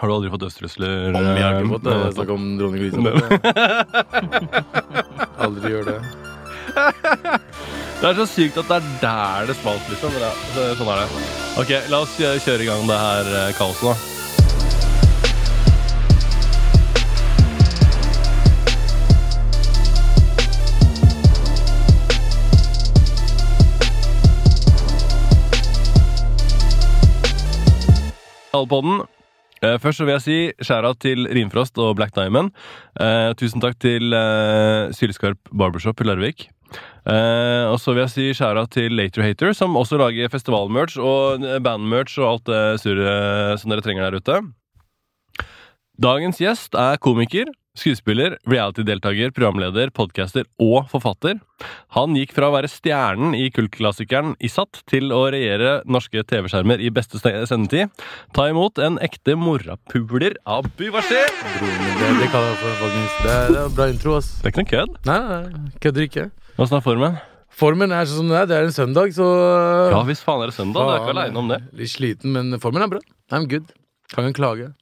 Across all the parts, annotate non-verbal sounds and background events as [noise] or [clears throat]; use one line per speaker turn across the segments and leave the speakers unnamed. Har du aldri fått dødstrusler?
Om jeg har ikke fått det.
eh,
Snakk om dronning
Nei.
Elisabeth. [laughs] Aldri gjør det.
Det er så sykt at det er der det smalt, liksom. Men ja, så- sånn er det. Ok, la oss eh, kjøre i gang det her eh, kaoset, da. Halvpodden. Eh, Først så vil jeg si skjæra til Rimfrost og Black Diamond. Eh, tusen takk til eh, Sylskarp Barbershop i Larvik. Eh, og så vil jeg si skjæra til Later Hater, som også lager festivalmerch og eh, bandmerch og alt det surret som dere trenger der ute. Dagens gjest er komiker, skuespiller, reality-deltaker, programleder, podcaster og forfatter. Han gikk fra å være stjernen i kultklassikeren Isat til å regjere norske TV-skjermer i beste ste- sendetid. Ta imot en ekte morapuler av Byvarser!
Broren min, Det, det kaller jeg for faktisk Det er det er bra intro, ass.
Det er ikke noe kødd.
Nei, nei, kødder ikke.
Åssen er formen?
Formen er sånn som den er. Det er en søndag, så
Ja visst faen er det søndag. Du er ikke
faen,
aleine om det.
Litt sliten, men formen er bra. I'm good. Kan ikke klage.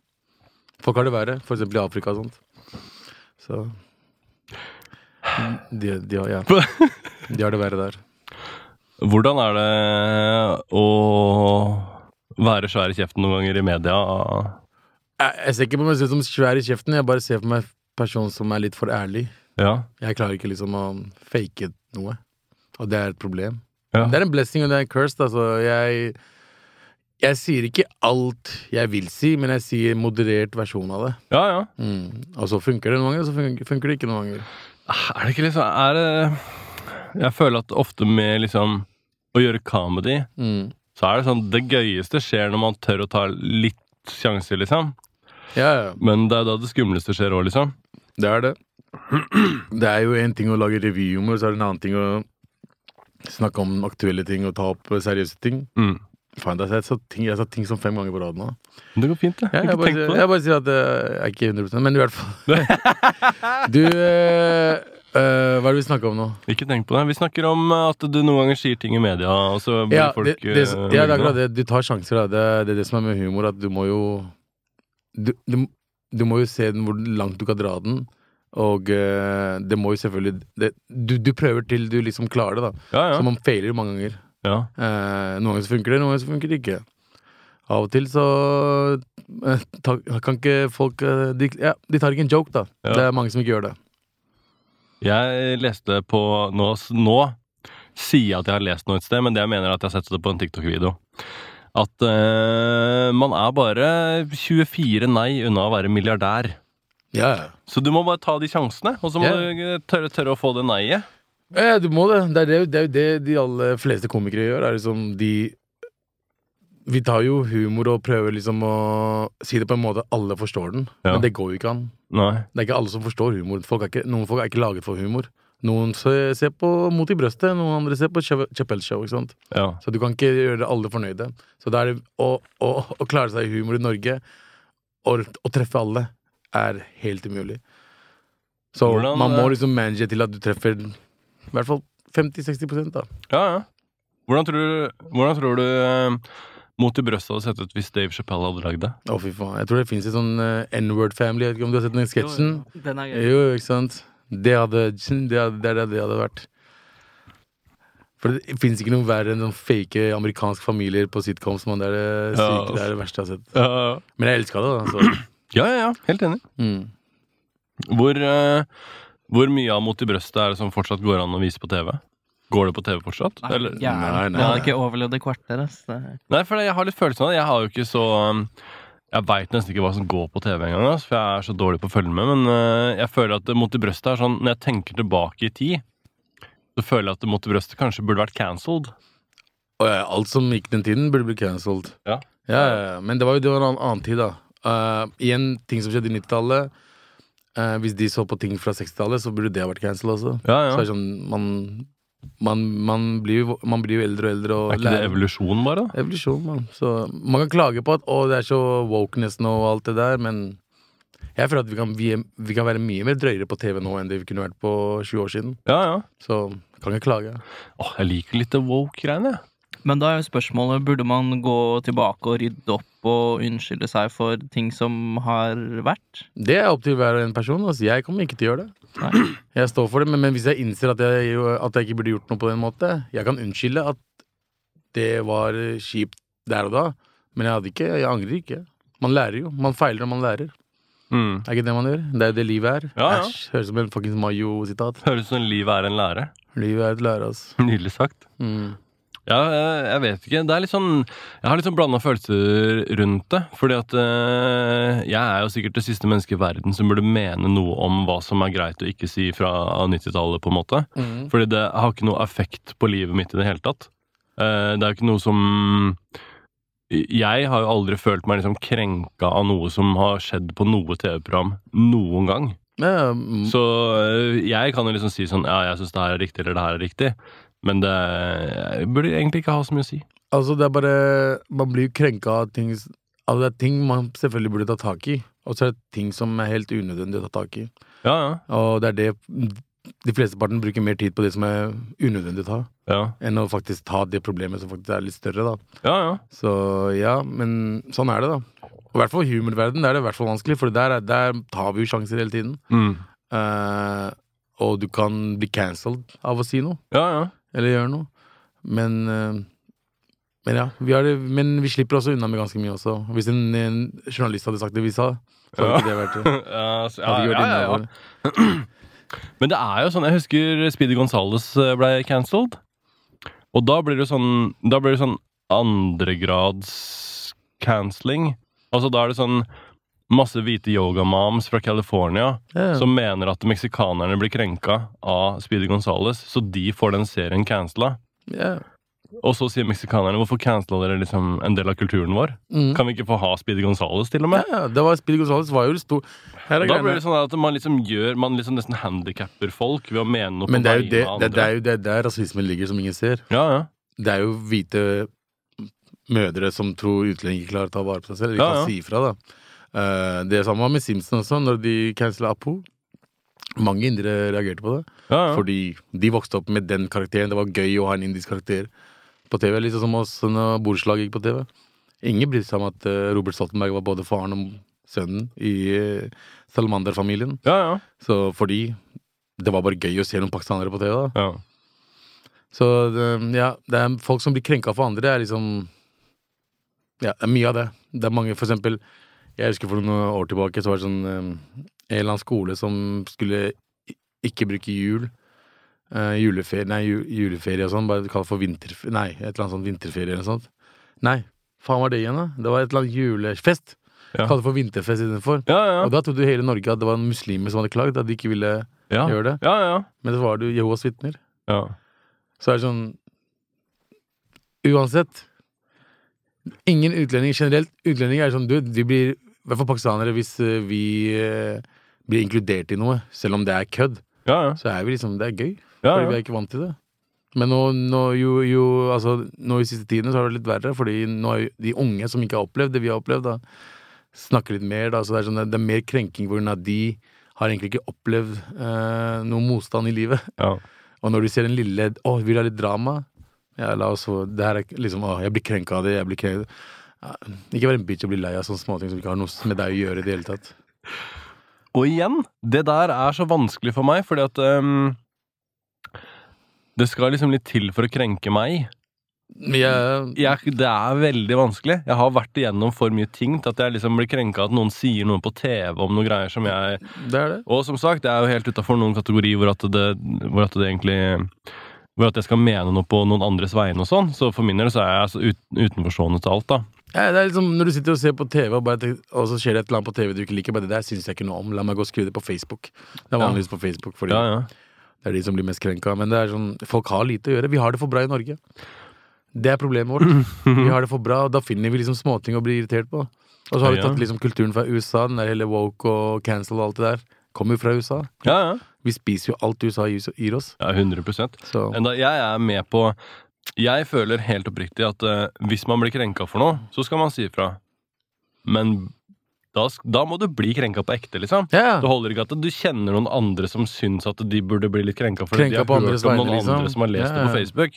Folk har det verre, for eksempel i Afrika og sånt. Så mm, De, de, [laughs] har, ja. de har det verre der.
Hvordan er det å være svær i kjeften noen ganger i media?
Jeg, jeg ser ikke på meg selv som svær i kjeften, jeg bare ser på meg person som er litt for ærlig.
Ja.
Jeg klarer ikke liksom å fake noe, og det er et problem.
ja.
Det er en blessing og det er en curse, altså. Jeg, jeg sier ikke alt jeg vil si, men jeg sier moderert versjon av det.
ja, ja.
Mm. Og så funker det noen ganger, og så funker, funker det ikke noen ganger.
Er det ikke liksom Er det Jeg føler at ofte med liksom å gjøre comedy,
Mm.
så er det sånn Det gøyeste skjer når man tør å ta litt sjanser, liksom.
Ja, ja.
Men det er da det skumleste skjer òg, liksom.
Det er det. [clears throat] Det er jo en ting å lage revyhumor, og så er det en annen ting å snakke om aktuelle ting og ta opp seriøse ting.
Mm.
Faen, jeg har sett ting, jeg har sett ting som fem ganger på rad nå.
Men Det går fint, det.
Ja,
Jeg
jeg,
har ikke
bare,
tenkt
sier-
på det.
jeg bare sier at eh, jeg er ikke 100 men i hvert fall [laughs] Du eh, eh, Hva er det vi snakker om nå?
Ikke tenkt på det. Vi snakker om eh, at du noen ganger sier ting i media, og så blir
Ja, det,
folk
det,
eh,
ja, det er
veldig
akkurat
glad.
det. Du tar sjanser. Da. Det, det er det som er med humor, at du må jo Du, du, du må jo se den hvor langt du kan dra den. Og eh, det må jo selvfølgelig det, du, du prøver til du liksom klarer det, da.
Ja,
Så
ja.
man feiler mange ganger.
ja.
Eh, noen ganger så funker det, noen ganger så funker det ikke. Av og til så eh, ta, kan ikke folk eh, de, ja, de tar ikke en joke, da.
Ja.
Det er mange som ikke gjør det.
Jeg leste på Nå, nå sier jeg at jeg har lest noe et sted, men det jeg mener er at jeg har sett det på en TikTok-video. At eh, man er bare 24 nei unna å være milliardær.
Ja,
Så du må bare ta de sjansene, og så må
Ja.
du eh, tørre, tørre å få det nei-et.
ja. ja du må det. Det er, det, det er jo det de aller fleste komikere gjør. Er liksom de Vi tar jo humor og prøver liksom å si det på en måte alle forstår den,
Ja.
men det går jo ikke an.
Nei.
Det er ikke alle som forstår humor. Folk er ikke, noen folk er ikke laget for humor. Noen se- ser på Mot i brøstet, noen andre ser på Chappelle Chappelle Show. ikke sant?
Ja.
Så du kan ikke gjøre alle fornøyde. Så da er det å, å, å klare seg i humor i Norge og å treffe alle er helt umulig. Så
Hvordan,
man må
eh,
liksom manage til at du treffer i hvert fall 50-60 da.
ja, ja. Hvordan tror du, hvordan tror du eh, Mot i brøstet hadde sett ut hvis Dave Chappelle hadde lagd det?
Å, fy faen. Jeg tror det fins en sånn eh, N-word family. Jeg vet ikke om du har sett den sketsjen?
Den er gøy.
Jo, ikke sant? Det hadde Det hadde, det, hadde, det hadde vært. For det fins ikke noe verre enn sånn fake amerikanske familier på sitcoms. Man. Det er det
Ja.
syke, det er det verste jeg har sett.
Ja,
Men jeg elska det, da. Så.
ja, ja. Helt enig.
Mm.
Hvor, eh, hvor mye av Mot i brøstet er det som fortsatt går an å vise på TV? Går det på TV fortsatt?
Nei,
Eller?
gæren.
Nei, nei.
Jeg hadde ikke overlevd et kvarter. Ass. Det er-
Nei, for jeg har litt følelsen av det. Jeg har jo ikke så um, Jeg veit nesten ikke hva som går på TV engang, altså, for jeg er så dårlig på å følge med. Men øh, jeg føler at det Mot i brøstet er sånn Når jeg tenker tilbake i tid, så føler jeg at det Mot i brøstet kanskje burde vært cancelled.
Og ja, alt som gikk den tiden, burde bli cancelled.
Ja.
Ja, ja, ja. Men det var jo det var en annen, annen tid, da. Eh, igjen, ting som skjedde i 90-tallet. eh, hvis de så på ting fra 60-tallet, så burde det ha vært cancelled også.
Ja,
Så
ja.
er det sånn, man, man, man, blir jo, man blir jo eldre og eldre og
Er ikke det evolusjon, bare? da?
Evolusjon, man. Så man kan klage på at å, det er så wokeness nå og alt det der, men jeg føler at vi kan, vi, vi kan være mye mer drøyere på TV nå enn det vi kunne vært på 20 år siden.
Ja, ja.
Så kan ikke klage.
Åh, jeg liker litt det woke-greiene, jeg.
Men da er jo spørsmålet, burde man gå tilbake og rydde opp opp og unnskylde seg for ting som har vært.
Det er opp til hver en person. Altså. Jeg kommer ikke til å gjøre det.
Nei.
Jeg står for det, men, men hvis jeg innser at jeg, jo- at jeg ikke burde gjort noe på den måten Jeg kan unnskylde at det var eh, kjipt der og da, men jeg hadde ikke, jeg angrer ikke. Man lærer jo. Man feiler når man lærer.
Mm.
Er ikke det man gjør? Det er jo det livet er.
Ja, ja.
Æsj, høres ut som en fuckings Mayo-sitat.
Høres ut som livet er en lære.
Livet er et lære, altså.
[laughs] Nydelig sagt.
Mm.
Ja, jeg, jeg vet ikke. Det er litt sånn Jeg har litt sånn blanda følelser rundt det. Fordi at eh, jeg er jo sikkert det siste mennesket i verden som burde mene noe om hva som er greit å ikke si fra 90-tallet, på en måte.
Mm.
Fordi det har ikke noe effekt på livet mitt i det hele tatt. Eh, det er jo ikke noe som Jeg har jo aldri følt meg liksom krenka av noe som har skjedd på noe TV-program noen gang.
Ja, mm.
Så øh, jeg kan jo liksom si sånn Ja, jeg syns det her er riktig, eller det her er riktig. Men det jeg burde egentlig ikke ha så mye å si.
Altså, det er bare Man blir jo krenka av ting Altså, det er ting man selvfølgelig burde ta tak i, og så er det ting som er helt unødvendig å ta tak i.
Ja, ja.
Og det er det de fleste parten bruker mer tid på det som er unødvendig å ta,
Ja,
enn å faktisk ta det problemet som faktisk er litt større, da.
ja. ja.
Så ja, men sånn er det, da. Og I hvert fall i humorverdenen er det i hvert fall vanskelig, for der, er- der tar vi jo sjanser hele tiden.
Mm.
Eh, og du kan bli cancelled av å si noe,
ja, ja.
eller gjøre noe. Men eh, men ja, vi har det, men vi slipper også unna med ganske mye også. Hvis en, en journalist hadde sagt det vi sa, så hadde
Ja.
ikke det vært det.
Ja, så- ja,
Hadde ikke vært
ja, ja, ja.
innafor.
Men det er jo sånn Jeg husker Speedy Gonzales eh, ble cancelled. Og da blir det jo sånn Da blir det sånn andregrads cancelling. Altså, da er det sånn masse hvite yogamoms fra California
Ja.
som mener at meksikanerne blir krenka av Speedy Gonzales, så de får den serien cancela.
Ja.
Og så sier meksikanerne hvorfor cancela dere liksom en del av kulturen vår?
Mm.
Kan vi ikke få ha Speedy Gonzales, til og
Ja,
med?
ja, det var Speedy Gonzales var jo stor Her er
Da
greiene.
blir det sånn at man liksom gjør Man liksom nesten handikapper folk ved å mene noe
Men
på
det er jo det,
vegne av
det, det
andre.
er jo det der rasismen ligger, som ingen ser.
Ja, ja.
Det er jo hvite mødre som tror utlendinger ikke klarer å ta vare på seg selv. De
Ja,
kan
ja.
si ifra, da. Eh, det samme var med Simpson også, når de cancela Apo. Mange indere reagerte på det.
ja, ja.
Fordi de vokste opp med den karakteren. Det var gøy å ha en indisk karakter på TV. Liksom som oss når Boreslag gikk på TV. Ingen brydde seg om at eh, Robert Stoltenberg var både faren og sønnen i eh, Salamander-familien.
ja, ja.
Så fordi det var bare gøy å se noen pakistanere på TV, da.
ja.
Så det, ja, det er folk som blir krenka for andre, det er liksom Ja, det er mye av det. Det er mange, for eksempel Jeg husker for noen år tilbake så var det sånn eh, en eller annen skole som skulle i- ikke bruke jul. eh, juleferie, nei, ju, juleferie og sånn, bare kalt for vinterferie Nei, et eller annet sånt vinterferie eller noe sånt. Nei, faen var det igjen, da? Det var et eller annet julefest.
Ja.
Kalt for vinterfest istedenfor.
Ja, ja.
Og da trodde hele Norge at det var muslimer som hadde klagd, at de ikke ville
Ja,
gjør det.
ja. ja.
Men så var det jo Jehovas vitner.
ja.
Så er det sånn Uansett Ingen utlendinger generelt Utlendinger er sånn, du, vi blir I hvert fall pakistanere hvis eh, vi eh, blir inkludert i noe Selv om det er kødd
ja, ja.
Så er vi liksom, det er gøy
ja,
Fordi
ja.
vi er ikke vant til det Men nå, nå, jo, jo, altså, nå i siste tiden så er det litt verre Fordi nå er jo de unge som ikke har opplevd det vi har opplevd da Snakker litt mer da Så det er, sånn, det er mer krenking hvor grunn av de Har egentlig ikke opplevd eh, noe motstand i livet
ja.
og når du ser en lille Å, vil du ha litt drama? Ja, la oss få Det her er ikke- liksom Å, jeg blir krenka av det. Jeg blir krenka ja, Ikke vær en bitch og bli lei av sånne småting som ikke har noe med deg å gjøre i det hele tatt.
Og igjen, det der er så vanskelig for meg, fordi at ehm, Det skal liksom litt til for å krenke meg.
Men jeg
Jeg, det er veldig vanskelig. Jeg har vært igjennom for mye ting til at jeg liksom blir krenka at noen sier noe på TV om noen greier som jeg
Det er det.
Og som sagt, det er jo helt utafor noen kategori hvor at det, hvor at det egentlig hvor at jeg skal mene noe på noen andres vegne og sånn. Så for min del så er jeg altså ut, utenforstående til alt, da.
Ja, det er liksom Når du sitter og ser på TV, og, bare, tenker- og så skjer det et eller annet på TV du ikke liker, bare det der syns jeg ikke noe om. La meg gå og skrive det på Facebook. Det er vanligvis på Facebook, fordi
Ja, ja.
det er de som blir mest krenka. Men det er sånn Folk har lite å gjøre. Vi har det for bra i Norge. Det er problemet vårt. Vi har det for bra, og da finner vi liksom småting å bli irritert på. Og så har vi
Ja.
tatt liksom kulturen fra USA, den der hele woke og cancel og alt det der. Kommer jo fra USA.
Ja, ja.
Vi spiser jo alt USA gir gir oss.
ja 100
Så
Enda jeg er med på Jeg føler helt oppriktig at eh, hvis man blir krenka for noe, så skal man si ifra. Men da, sk- da må du bli krenka på ekte, liksom.
ja,
Det holder ikke at du kjenner noen andre som syns at de burde bli litt krenka for
Krenka
det. De har
på
hørt
andres
om noen
vegne, liksom.
andre som har lest
Ja,
det
ja.
på Facebook.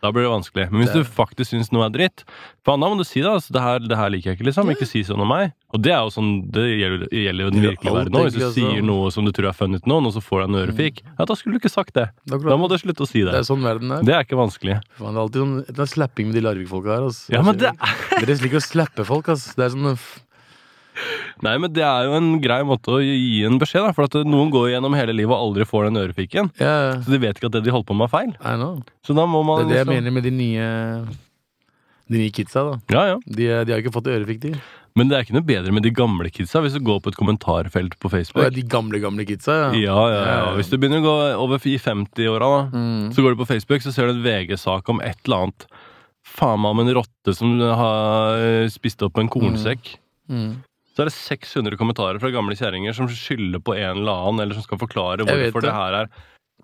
Da blir det vanskelig. Men hvis
Det-
du faktisk syns noe er dritt, faen, da må du si det. Altså, det, her, 'Det her liker jeg ikke', liksom. Ikke si sånn om meg. Og det er jo sånn, det gjelder, gjelder jo den
Det gjelder
virkelige
alt,
verden òg. Hvis du
egentlig, altså.
sier noe som du tror er fun uten noen, og så får du en ørefik, ja, da skulle du ikke sagt det.
Det er,
Da må
akkurat-
du slutte å si
Mm. det
det.
er sånn verden er.
Det er ikke vanskelig.
Faen, det er alltid sånn, det er slapping med de Larvik-folka her. ass.
Ja, men det
Dere liker å slappe folk, ass. Det er sånn f-
Nei, men det er jo en grei måte å gi en beskjed, da. For at noen går gjennom hele livet og aldri får den ørefiken.
Ja,
Så de vet ikke at det de holdt på med, er feil.
I know.
Så da må
Det
man
er det jeg
liksom-
mener med de nye De nye kidsa, da.
Ja, ja.
De, er- de har ikke fått ørefik, de.
Men det er ikke noe bedre med de gamle kidsa hvis du går på et kommentarfelt på
Å, ja,
Facebook.
de gamle, gamle kidsa.
Ja, ja, ja. Hvis du begynner å gå over i 50-åra, da,
Mm.
så går du på Facebook, så ser du en VG-sak om et eller annet. Faen meg om en rotte som har eh, spist opp en kornsekk.
Mm.
Så er det 600 kommentarer fra gamle kjerringer som skylder på en eller annen, eller som skal forklare
Jeg vet
hvorfor det.
det.
her er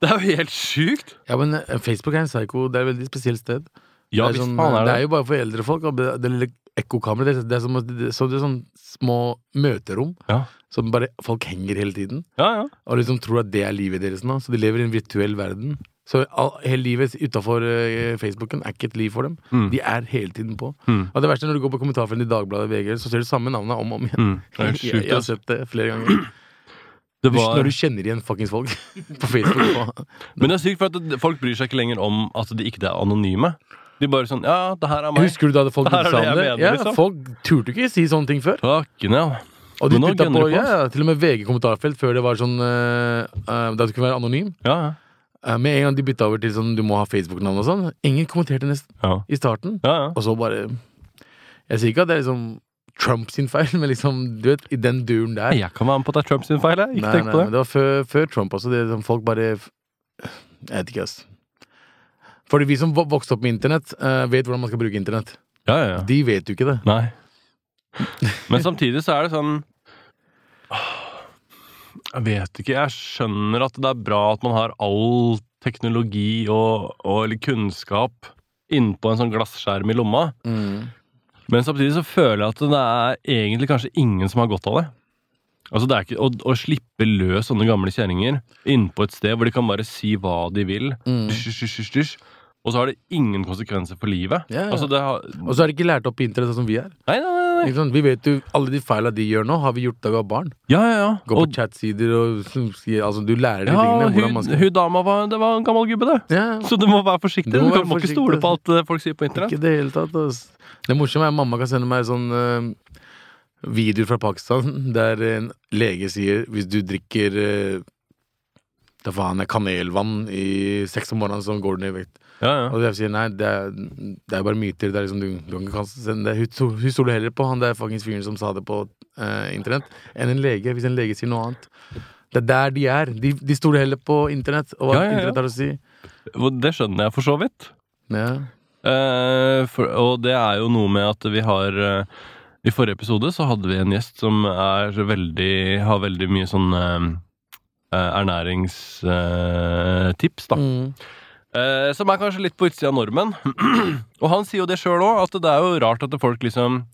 Det er jo helt sjukt!
Ja, men eh, Facebook er en psycho. Det er et veldig spesielt sted.
Ja,
det, er
visst
sånn,
faen er det.
jo bare for eldre folk. Og det, det lille ekkokammeret det, det er som det, det, så det er sånn små møterom
Ja.
som bare folk henger hele tiden.
Ja, ja.
Og liksom tror at det er livet deres nå. Så de lever i en virtuell verden. Så all, hele livet utafor Facebooken er ikke et liv for dem.
Mm.
De er hele tiden på.
Mm.
Og det verste er når du går på kommentarfeltet i Dagbladet VG, så ser du samme navnet om og om igjen.
Mm. Det er helt
[laughs] Jeg,
sjukt,
jeg har
ass.
sett det flere ganger.
Det
Du,
var...
når du kjenner igjen fuckings folk [laughs] på Facebook. Og,
Men det er sykt, for at det- folk bryr seg ikke lenger om at de ikke er anonyme. De bare sånn Ja, det her er meg.
husker du da folk
Det her er
sa
det
om
jeg
det?
mener,
Ja,
liksom.
Folk turte ikke si sånne ting før.
Fucken, ja.
Og de
Men nå
putta
gunner
på
det på,
ja, ja, til og med VG kommentarfelt før det var sånn eh, eh, Da du kunne være anonym.
Ja, ja.
Eh, med en gang de bytta over til sånn du må ha Facebook-navn og sånn. Ingen kommenterte nesten
Ja,
i starten.
ja. ja.
Og så bare Jeg sier ikke at det er liksom Trump sin feil, [laughs] men liksom, du vet, i den duren der.
Nei, Jeg kan være med på at det er Trump sin feil. Jeg. Ikke
Nei,
tenk
nei,
på
men
det.
det var før, før Trump også. Det er sånn folk bare Jeg vet ikke, ass. Fordi vi som vo- vokste opp med internett, eh, vet hvordan man skal bruke internett.
Ja, ja, ja.
De vet jo ikke det.
Nei. Men samtidig så er det sånn Åh, Jeg vet ikke. Jeg skjønner at det er bra at man har all teknologi og, og eller kunnskap innpå en sånn glasskjerm i lomma, men samtidig så føler jeg at det er egentlig kanskje ingen som har godt av det. Altså det er ikke, å, å slippe løs sånne gamle kjerringer innpå et sted hvor de kan bare si hva de vil,
Mm.
dysj, dysj, dysj, dysj, og så har det ingen konsekvenser for livet.
Ja, ja.
Altså det har,
Og så er de ikke lært opp i internett sånn som vi er.
nei, nei, nei, nei.
Ikke sant? Vi vet jo, Alle de feila de gjør nå, har vi gjort da vi var barn.
Ja, ja, ja.
Gå på
Og-
chatsider og sier altså, Du lærer de
ja,
tingene. Hvordan
hun,
man skal
hun dama var, det var en gammel gubbe, det.
ja,
Så du må være forsiktig.
Du
Du,
må
kan-
være
må ikke
forsiktig.
stole på alt eh, folk sier på
Ikke
internett.
i det hele tatt. Ass. Det morsomme er at mamma kan sende meg sånn eh, video fra Pakistan der en lege sier hvis du drikker eh, da faen er kanelvann i seks om morgenen, så går du ned i vekt.
Ja, ja.
Og jeg sier nei, det er, det er bare myter. Det er liksom, du, du kan ikke sende det. Hun, to- hun stoler heller på han der fuckings fyren som sa det på eh, internett, enn en lege, hvis en lege sier noe annet. Det er der de er. De, de stoler heller på internett og hva
Ja, ja, ja.
internett har å si.
Og Det skjønner jeg for så vidt.
Ja.
Eh, for, og det er jo noe med at vi har eh, I forrige episode så hadde vi en gjest som er veldig, har veldig mye sånn eh, ernæringstips, da.
Mm.
Eh, som er kanskje litt på utsida av normen. [clears throat] og han sier jo det sjøl òg, at det er jo rart at folk liksom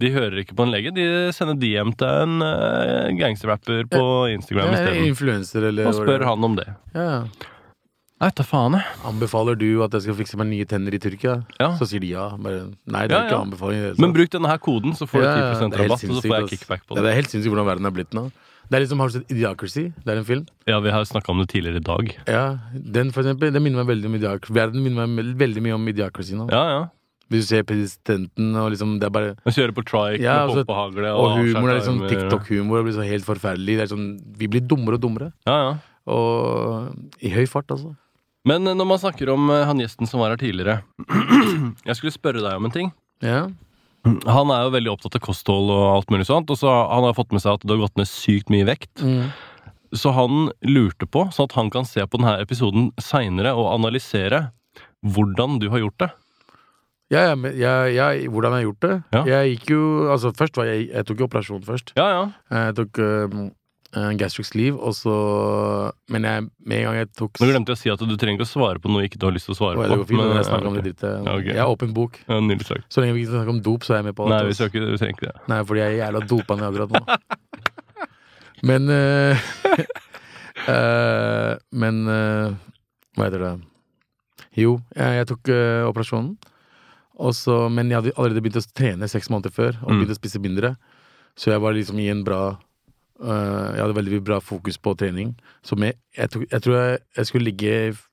De hører ikke på en lege, de sender DM til en eh, gangsterrapper på Instagram
Ja,
isteden.
influenser eller
Og spør han om det.
Ja.
Jeg vet da faen, jeg.
Anbefaler du at jeg skal fikse meg nye tenner i Tyrkia?
Ja.
Så sier de ja. Bare, nei, det
Ja,
er
ja.
ikke anbefaling. i det hele
Men
tatt.
bruk denne her koden, så får du
Ja, ja,
10
det er helt
rabatt, og så får jeg
sinnssykt, ass.
kickback på
Ja,
det.
det er helt sinnssykt hvordan verden er blitt nå. Det er liksom, Har du sett Idiocracy? Det er en film.
Ja, vi har snakka om det tidligere i dag.
Ja, den for eksempel, den minner meg veldig om Idiocracy. Verden minner meg mel- veldig mye om Idiocracy nå.
Ja, ja.
Hvis du ser presidenten og liksom, det er bare
Vi kjører på trike
Ja,
med
altså,
poppehagle og,
Og humor
avskjærte
er liksom
armer.
TikTok-humor. Det blir så helt forferdelig. Det er sånn, vi blir dummere og dummere.
Ja, ja.
Og i høy fart, altså.
Men eh, når man snakker om eh, han gjesten som var her tidligere [clears throat] Jeg skulle spørre deg om en ting.
Ja.
Han er jo veldig opptatt av kosthold og alt mulig sånt. Og så har- han har fått med seg at du har gått ned sykt mye i vekt.
Mm.
Så han lurte på, sånn at han kan se på denne episoden seinere og analysere hvordan du har gjort det.
Ja, ja, men jeg, jeg, hvordan har jeg gjort det?
Ja.
Jeg gikk jo Altså, først var jeg Jeg tok jo operasjon først.
Ja, ja.
Jeg tok um, en gastric sleeve, og så Men jeg, med en gang jeg tok
Nå glemte jeg å si at du trenger ikke å svare på noe ikke du har lyst til å svare
Å,
på.
ja, det går fint,
men-
men, jeg snakker om det drittet.
Ja, ok.
Jeg er åpen bok.
Ja, nydelig sagt.
Så lenge vi ikke snakker om dop, så er jeg med på alt.
Nei, vi
ass.
søker, vi trenger ikke det.
Nei, fordi jeg er jævla dopa ned akkurat nå. Men eh, [laughs] eh, Men eh, Hva heter det? Jo, jeg, jeg tok eh, operasjonen. Og så- men jeg hadde allerede begynt å trene seks måneder før, og
Mm.
begynt å spise mindre. Så jeg var liksom i en bra eh, Jeg hadde veldig bra fokus på trening. Som jeg, jeg, tok, jeg tror jeg, jeg skulle ligge i f-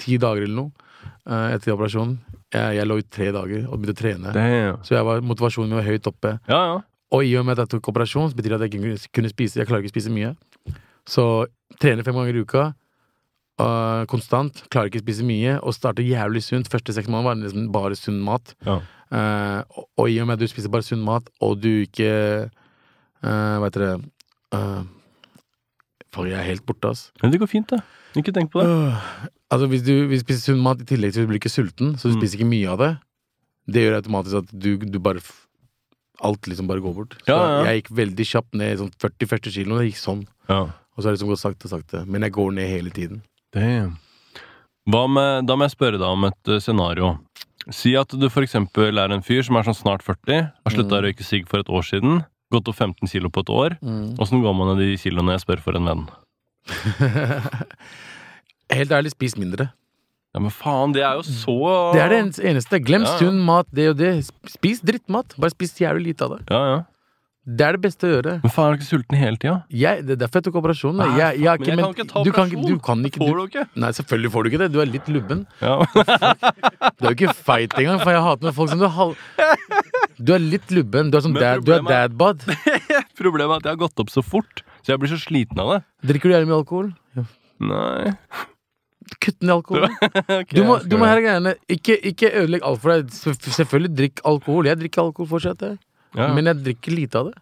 ti dager eller noe eh, etter operasjonen. Jeg, jeg lå i tre dager og begynte å trene.
Damn.
Så jeg var, motivasjonen min var høyt oppe.
Ja, ja.
Og i og med at jeg tok operasjon, så betyr det at jeg ikke kunne- kunne spise Jeg klarer ikke å spise mye. Så trener fem ganger i uka. øh, konstant. Klarer ikke å spise mye. Og starter jævlig sunt. Første seks måneder var det liksom bare sunn mat.
Ja.
Eh, og, og i og med at du spiser bare sunn mat, og du ikke uh, Hva heter det uh, Faen, jeg er helt borte, ass.
Men det går fint, det. Ikke tenk på det.
Øh, altså hvis du hvis du spiser sunn mat i tillegg til at du blir ikke sulten, så du
Mm.
spiser ikke mye av det, det gjør automatisk at du, du bare f- Alt liksom bare går bort. Så
Ja, ja, ja.
jeg gikk veldig kjapt ned sånn 40 første kilo, det gikk sånn.
Ja.
Og så har det liksom gått sakte, sakte. Men jeg går ned hele tiden.
Damn. Hva med, da må jeg spørre deg om et eh, scenario. Si at du for eksempel er en fyr som er sånn snart 40, har slutta å røyke sigg for et år siden, gått opp 15 kilo på et år. Åssen går man ned de kiloene jeg spør for en venn?
Helt ærlig, spis mindre.
Ja, men faen, det er jo så
Det er det ens- eneste. Glem
Ja, ja.
sunn mat, det og det. Spis drittmat. Bare spis jævlig lite av det.
Ja, ja.
Det er det beste å gjøre.
Men faen, er du ikke sulten hele tida?
Jeg, det er derfor jeg tok operasjonen. da.
Nei,
Jeg, jeg, har
Men jeg kan ikke ta
du kan, ikke-
operasjon.
du kan ikke,
Får
du,
du ikke?
nei, selvfølgelig får du ikke det. Du er litt lubben.
[laughs] Ja.
Du er jo ikke feit engang, for jeg hater med folk som du er halv... Du er litt lubben. Du er som
Men
dad, du er
problemet er-
dadbod.
Problemet er at jeg har gått opp så fort, så jeg blir så sliten av det.
Drikker du jævlig mye alkohol?
Nei
Kutt ned alkoholen.
Ok,
Du må,
jeg skal
du må
gjøre
her greiene. Ikke, ikke ødelegg alt for deg. Sel- Selvfølgelig drikk alkohol. Jeg drikker alkohol fortsatt,
det.
jeg.
ja.
men jeg drikker lite av det.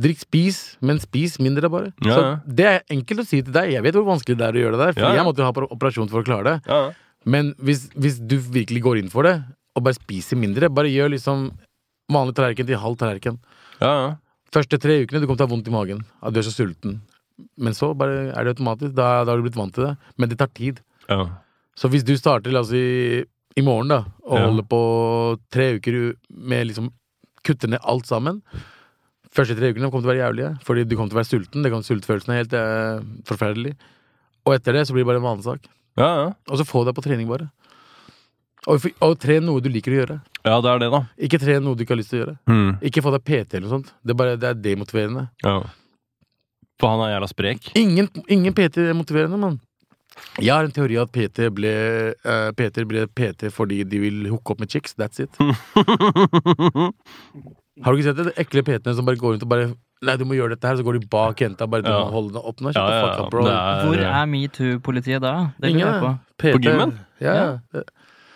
Drikk, spis, men spis mindre, bare.
Ja, ja.
Så Det er enkelt å si til deg. Jeg vet hvor vanskelig det er å gjøre det der, for
Ja, ja.
jeg måtte jo ha oper- operasjon for å klare det.
Ja.
Men hvis, hvis du virkelig går inn for det, og bare spiser mindre, bare gjør liksom vanlig tallerken til halv tallerken.
Ja, ja.
Første tre ukene du kommer til å ha vondt i magen. At du er så sulten. Men så bare er det automatisk. Da, da har du blitt vant til det. Men det tar tid.
ja.
Så hvis du starter la oss si, i morgen da, og
Ja.
holder på tre uker u- med liksom kutte ned alt sammen Første tre ukene kommer til å være jævlige, fordi du kommer til å være sulten. Det kan, sultfølelsen er helt eh, forferdelig. Og etter det så blir det bare en vanesak.
ja, ja.
Og så få deg på trening, bare. Og, f- og tren noe du liker å gjøre.
Ja, det er det, da.
Ikke tren noe du ikke har lyst til å gjøre.
Hmm.
Ikke få deg PT eller noe sånt. Det er, bare, det er demotiverende.
Ja. For han er jævla sprek.
Ingen, ingen PT er motiverende, mann. Jeg har en teori at PT ble, eh, PT ble PT fordi de vil hooke opp med chicks. That's
[laughs]
it. Har du ikke sett det? De ekle PT-ene som bare går rundt og bare Nei, du må gjøre dette her, så går de bak jenta. Bare du
Ja.
må holde den opp nå. Shut
Ja,
the
ja,
fuck
ja.
up, bro.
Det er, eh,
Hvor er metoo-politiet da? Det lurer jeg på.
Ingen, PT.
På gymmen?
Ja, ja.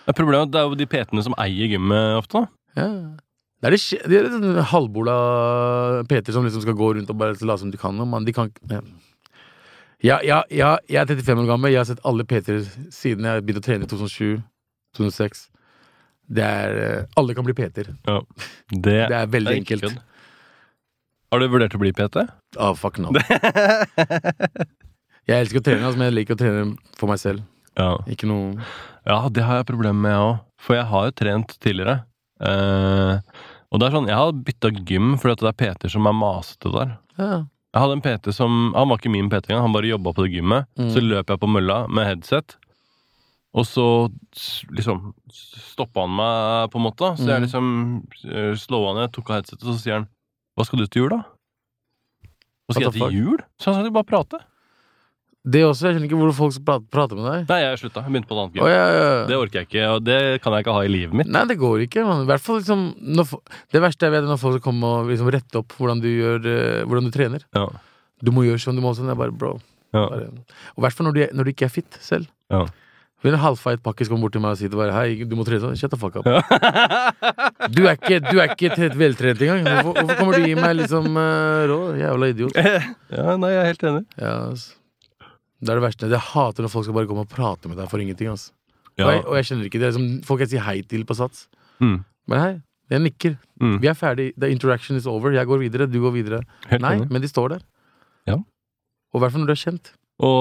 Men Problemet er at det er jo de PT-ene som eier gymmet ofte. da.
ja. Det er de, skje- de er sånne halvbola PT-er som liksom skal gå rundt og bare late som de kan noe, mann. De kan ikke ja. ja, ja, ja, jeg er 35 år gammel. Jeg har sett alle PT-er siden jeg begynte å trene i 2007-2006. Det er eh, Alle kan bli PT-er.
Det,
Det er veldig
ikke
enkelt.
kødd. Har du vurdert å bli PT?
Ah, fuck [laughs] no. Jeg elsker å trene, altså, men jeg liker å trene for meg selv.
Ja.
Ikke noe
ja, det har jeg problemer med, jeg òg. For jeg har jo trent tidligere. Eh, og det er sånn, Jeg har bytta gym fordi at det er PT-er som er masete der.
ja.
Jeg hadde en PT som, Han var ikke min PT engang, han bare jobba på det gymmet.
Mm.
Så løp jeg på mølla med headset, og så s- liksom stoppa han meg, eh, på en måte. Så jeg
Mm.
liksom eh, slå han ned, tok av headsetet, og så sier han 'Hva skal du til jul, da?' Og så sier jeg
What the
til
fuck?
jul? Så han sa bare prate.
Det også, jeg skjønner ikke hvor folk prater, prater med deg.
Nei, jeg slutta. Jeg begynte på et annet
Å,
gym.
ja, ja.
Det orker jeg ikke, og det kan jeg ikke ha i livet mitt.
Nei, det går ikke. Man. I hvert fall liksom når, fo- Det verste jeg vet, er når folk kommer og liksom rette opp hvordan du, gjør, eh, hvordan du trener.
Ja.
Du må gjøre sånn, du må sånn. Jeg bare, bro.
Ja.
Bare. Og i hvert fall når, du er- når du ikke er fit selv.
Ja.
Vil en halvfeit pakkis komme bort til meg og si til bare, Hei, du må trene sånn. Shut the fuck up. Du er ikke, du er ikke helt veltrent engang. Hvorfor, hvorfor kommer du og gir meg liksom eh, råd? Jævla idiot.
ja, nei, jeg er helt enig.
Ja, ass. Det er det verste. Jeg hater når folk skal bare komme og prate med deg for ingenting. ass.
Ja.
Og, jeg, og jeg skjønner ikke det. er Liksom, folk jeg sier hei til på Sats.
Mm.
Men hei, jeg nikker.
Mm.
Vi er ferdig. The interaction is over. Jeg går videre, du går videre.
Helt
Nei,
enig.
men de står der.
Ja.
Og i hvert fall når du er kjent.
Og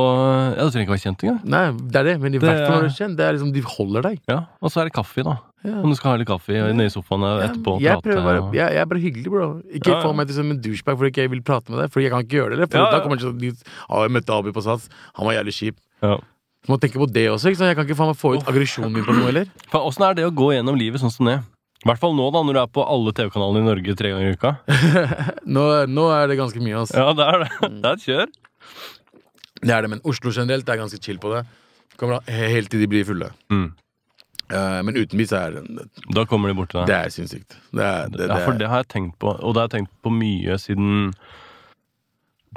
ja, Du trenger ikke være kjent engang.
Nei, det er det, men i
Det
hvert fall når du
er-
er kjent. Det er liksom, De holder deg.
Ja. Og så er det kaffe, da.
Ja.
Om du skal ha litt kaffe i- nede i sofaen og etterpå og
jeg, prøver bare,
og-
jeg, jeg er bare hyggelig, bro. Ikke
Ja, ja.
få meg til som en douchebag fordi ikke jeg vil prate med deg. Fordi jeg kan ikke gjøre det. For
Ja, ja.
da kommer jeg til å bli- Å, jeg møtte Abi på Sats. Han var jævlig kjip.
Ja.
Du må tenke på det også. ikke sant? Jeg kan ikke faen meg få ut aggresjonen min på noe heller.
Faen, Åssen er det å gå gjennom livet sånn som det? I hvert fall nå, da, når du er på alle TV-kanalene i Norge tre ganger i uka. [laughs]
Nå, nå er det ganske mye, altså.
Ja, det er det. Det er et kjør.
Det er det, men Oslo generelt er ganske chill på det. Kommer da he- helt til de blir fulle.
Mm.
Eh, men utenby så er det
Da kommer de bort til deg.
Det er sinnssykt. Det er, det, det,
ja, for det har jeg tenkt på, og det har jeg tenkt på mye siden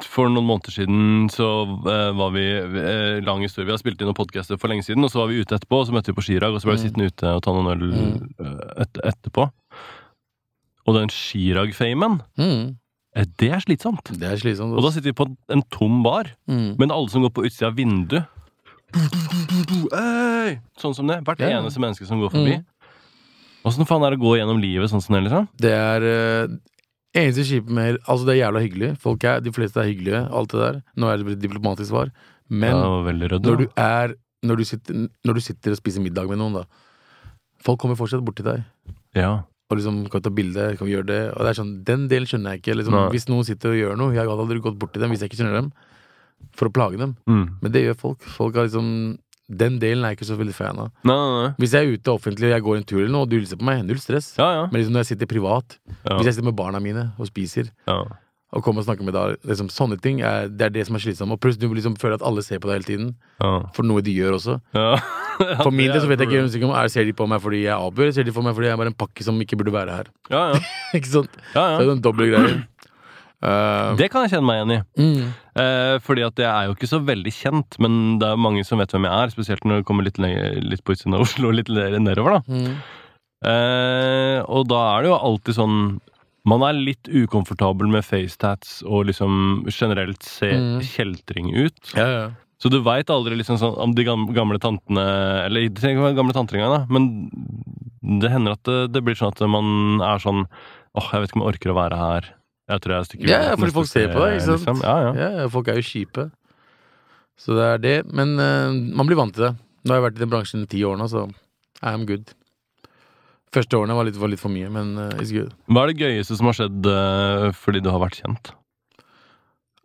For noen måneder siden så eh, var vi eh, lang historie. Vi har spilt inn noen podcaster for lenge siden, og så var vi ute etterpå, og så møtte vi på Chirag, og så ble vi
Mm.
sittende ute og ta noen øl
Mm.
eh, et, etterpå. Og den Chirag-famen,
Mm,
eh, det er slitsomt.
det er slitsomt.
Og da
Altså.
sitter vi på en tom bar,
Mm.
men alle som går på utsida av vinduet Øy! Sånn som det. Hvert
Ja.
eneste menneske som går forbi.
Mm.
Åssen faen er det å gå gjennom livet sånn som det, liksom?
Det er eh, eneste kjipe med Altså, det er jævla hyggelig. Folk er, de fleste er hyggelige, alt det der. Nå er det et diplomatisk svar. Men
Ja, det var veldig rødt.
når du er når du, sitter, når du sitter og spiser middag med noen, da Folk kommer fortsatt bort til deg.
ja.
Og liksom, kan vi ta bilde, kan vi gjøre det? Og det er sånn, Den delen skjønner jeg ikke. Liksom,
Nei.
hvis noen sitter og gjør noe, jeg hadde aldri gått bort til dem hvis jeg ikke skjønner dem. For å plage dem.
Mm.
Men det gjør folk. folk har liksom, Den delen er jeg ikke så veldig fan av.
Nei, nei, nei.
Hvis jeg er ute offentlig og jeg går en tur eller noe, og du hilser på meg, null stress.
Ja, ja.
Men liksom når jeg sitter privat,
Ja.
hvis jeg sitter med barna mine og spiser,
ja.
og kommer og snakker med deg, liksom, sånne ting, er, det er det som er slitsomt. Og pluss du liksom føler at alle ser på deg hele tiden,
ja.
for noe de gjør også.
ja.
[laughs] For min
det
del så
er
vet jeg ikke
problem.
jeg er usikker om er, ser de på meg fordi jeg er avbøyer, eller ser de på meg fordi jeg er bare en pakke som ikke burde være her. [laughs]
Ja, ja.
ikke sant? [laughs] Så
ja,
det
ja.
er den doble greia. [clears throat] Eh,
Det kan jeg kjenne meg igjen i.
mm,
Eh, fordi at jeg er jo ikke så veldig kjent, men det er mange som vet hvem jeg er. Spesielt når det kommer litt, lenger, litt på utsiden av Oslo og litt le- nedover, da.
mm.
Eh, og da er det jo alltid sånn man er litt ukomfortabel med facetats og liksom generelt ser
Mm.
kjeltring ut.
Ja, ja.
Så du veit aldri liksom sånn om de gam- gamle tantene Eller det trenger ikke være gamle tanter engang, da, men det hender at det, det blir sånn at man er sånn Åh, jeg vet ikke om jeg orker å være her. Jeg tror jeg stikker
Ja,
videre
ja,
til
fordi
neste
folk ser på deg, ikke
sted», liksom.
sant?
Ja, ja.
Ja, ja, folk er jo kjipe. Så det er det. Men eh, man blir vant til det. Nå har jeg vært i den bransjen i ti år nå, så I'm good. Første årene var litt, var litt for mye, men eh, it's good.
Hva er det gøyeste som har skjedd eh, fordi du har vært kjent?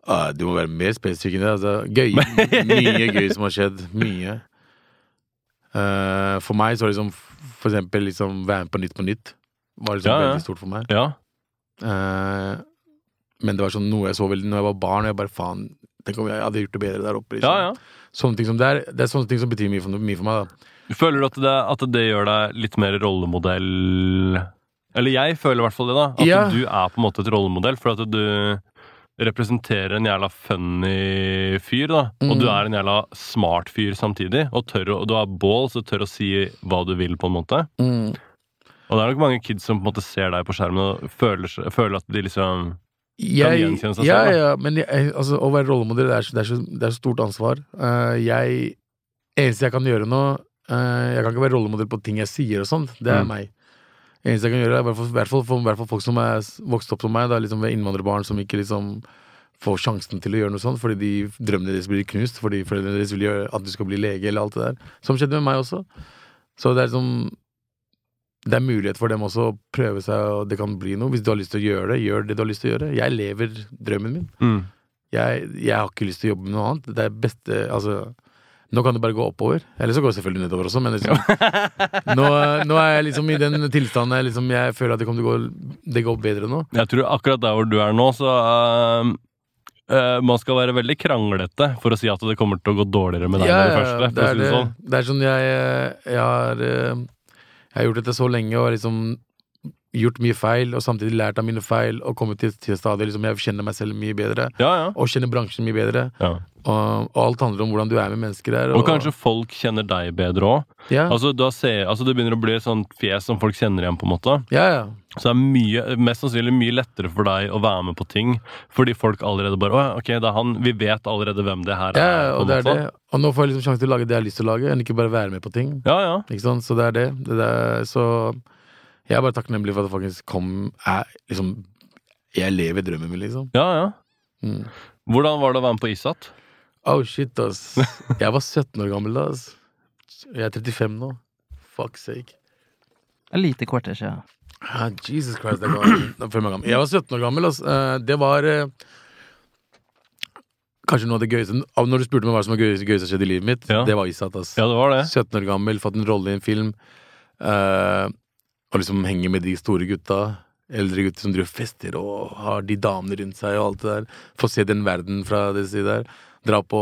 Ah, du må være mer spesifikk enn det. Altså, gøy. Mye gøy som har skjedd. Mye. Eh, for meg så var det liksom for eksempel liksom være med på Nytt på Nytt. Var liksom
Ja, ja.
veldig stort for meg.
Ja.
Eh, men det var sånn noe jeg så veldig når jeg var barn, og jeg bare faen Tenk om jeg hadde gjort det bedre der oppe.
ja,
liksom.
ja.
Sånne ting som det, er, det er sånne ting som betyr mye for, mye for meg. da
Føler du at det, at det gjør deg litt mer rollemodell Eller jeg føler i hvert fall det, da. At
Ja.
du er på en måte et rollemodell. For at du representerer en jævla funny fyr, da. Og
Mm.
du er en jævla smart fyr samtidig. Og, tør, å- og du har balls og tør å si hva du vil, på en måte. Og det er nok mange kids som på en måte ser deg på skjermen og føler, seg- føler at de liksom
Jeg,
gjenkjenne seg selv,
ja,
da.
ja, men jeg, altså, å være rollemodell det er, så- det, er så, det er så stort ansvar. Eh, jeg Eneste jeg kan gjøre nå eh, Jeg kan ikke være rollemodell på ting jeg sier og sånt. Det er
Mm.
meg. Eneste jeg kan gjøre, er i hvert fall- i hvert fall for i hvert fall folk som er s- vokst opp som meg, da, liksom ved innvandrerbarn som ikke liksom får sjansen til å gjøre noe sånt fordi de drømmene deres blir knust fordi foreldrene deres vil gjøre at du skal bli lege eller alt det der. Som skjedde med meg også. Så det er liksom det er mulighet for dem også å prøve seg, og det kan bli noe. Hvis du har lyst til å gjøre det, gjør det du har lyst til å gjøre. Jeg lever drømmen min.
mm.
Jeg, jeg har ikke lyst til å jobbe med noe annet. Det er beste Altså, nå kan det bare gå oppover. Eller så går det selvfølgelig nedover også, men liksom, nå, nå er jeg liksom i den tilstanden jeg liksom, jeg føler at det kommer til å gå Det går bedre nå.
Jeg tror akkurat der hvor du er nå, så øhm, øh, Man skal være veldig kranglete for å si at det kommer til å gå dårligere med deg med det første.
det
For å
er,
si det sånn.
det er sånn jeg, eh, jeg har eh, Jeg har gjort dette så lenge og har liksom gjort mye feil, og samtidig lært av mine feil, og kommet til, til et stadium liksom, jeg kjenner meg selv mye bedre.
Ja, ja.
og kjenner bransjen mye bedre.
ja.
Og, og alt handler om hvordan du er med mennesker der.
Og kanskje folk kjenner deg bedre òg.
ja,
Altså, du har se- altså, det begynner å bli et sånt fjes som folk kjenner igjen, på en måte.
ja, ja.
Så det er mye, mest sannsynlig mye lettere for deg å være med på ting fordi folk allerede bare Å, ja, ok, det er han. Vi vet allerede hvem det her
ja,
er.
ja,
på en
og det er det.
måte.
Og nå får jeg liksom sjanse til å lage det jeg har lyst til å lage, enn ikke bare være med på ting.
Ja, ja.
Ikke sant? Så det er det. det der, så jeg er bare takknemlig for at det faktisk kom er, liksom, Jeg lever drømmen min, liksom.
ja, ja.
Mm.
Hvordan var det å være med på ISAT?
Oh shit, ass. [laughs] Jeg var 17 år gammel da, ass. Jeg er 35 nå. Fuck sake.
Det er lite kvarter siden.
Ah, Jesus Christ, det [clears throat] er gammel. Nå føler jeg meg gammel. Jeg var 17 år gammel, altså. Eh, Det var eh, Kanskje noe av det gøyeste av- Når du spurte meg hva som var gøyeste, gøyeste som skjedde i livet mitt,
Ja.
det var Isat. ass.
Ja, det var det.
17 år gammel, fått en rolle i en film. eh, og liksom henge med de store gutta. Eldre gutter som driver og fester og har de damene rundt seg og alt det der. Få se den verden fra det siden der. Dra på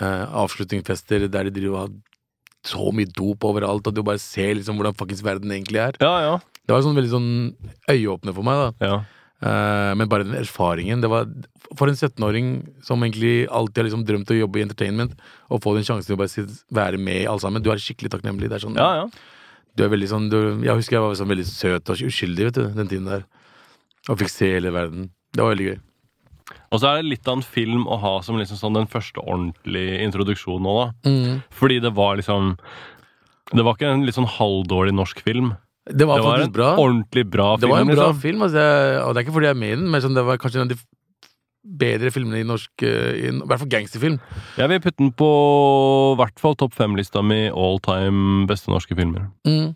eh, avslutningsfester der de driver og har så mye dop overalt, og du bare ser liksom hvordan fuckings verden egentlig er.
Ja, ja.
Det var sånn veldig sånn øyeåpner for meg, da.
ja.
Eh, men bare den erfaringen det var, For en 17-åring som egentlig alltid har liksom drømt å jobbe i entertainment, å få den sjansen til å bare sit- være med i alle sammen Du er skikkelig takknemlig. Det er sånn,
ja, ja.
Du er veldig sånn du, Jeg husker jeg var sånn veldig søt og uskyldig vet du, den tiden der. Og fikk se hele verden. Det var veldig gøy.
Og så er det litt av en film å ha som liksom sånn den første ordentlige introduksjonen nå, da. Fordi det var liksom Det var ikke en litt sånn halvdårlig norsk film.
Det
Det
var,
var en
faktisk bra.
ordentlig bra film.
Det var en bra
liksom.
film. Altså, jeg, og det er ikke fordi jeg er med i den, men sånn, det var kanskje en av de f- bedre filmene i norsk eh, I i hvert fall gangsterfilm.
Jeg vil putte den på i hvert fall topp fem-lista mi all time beste norske filmer.
Mm.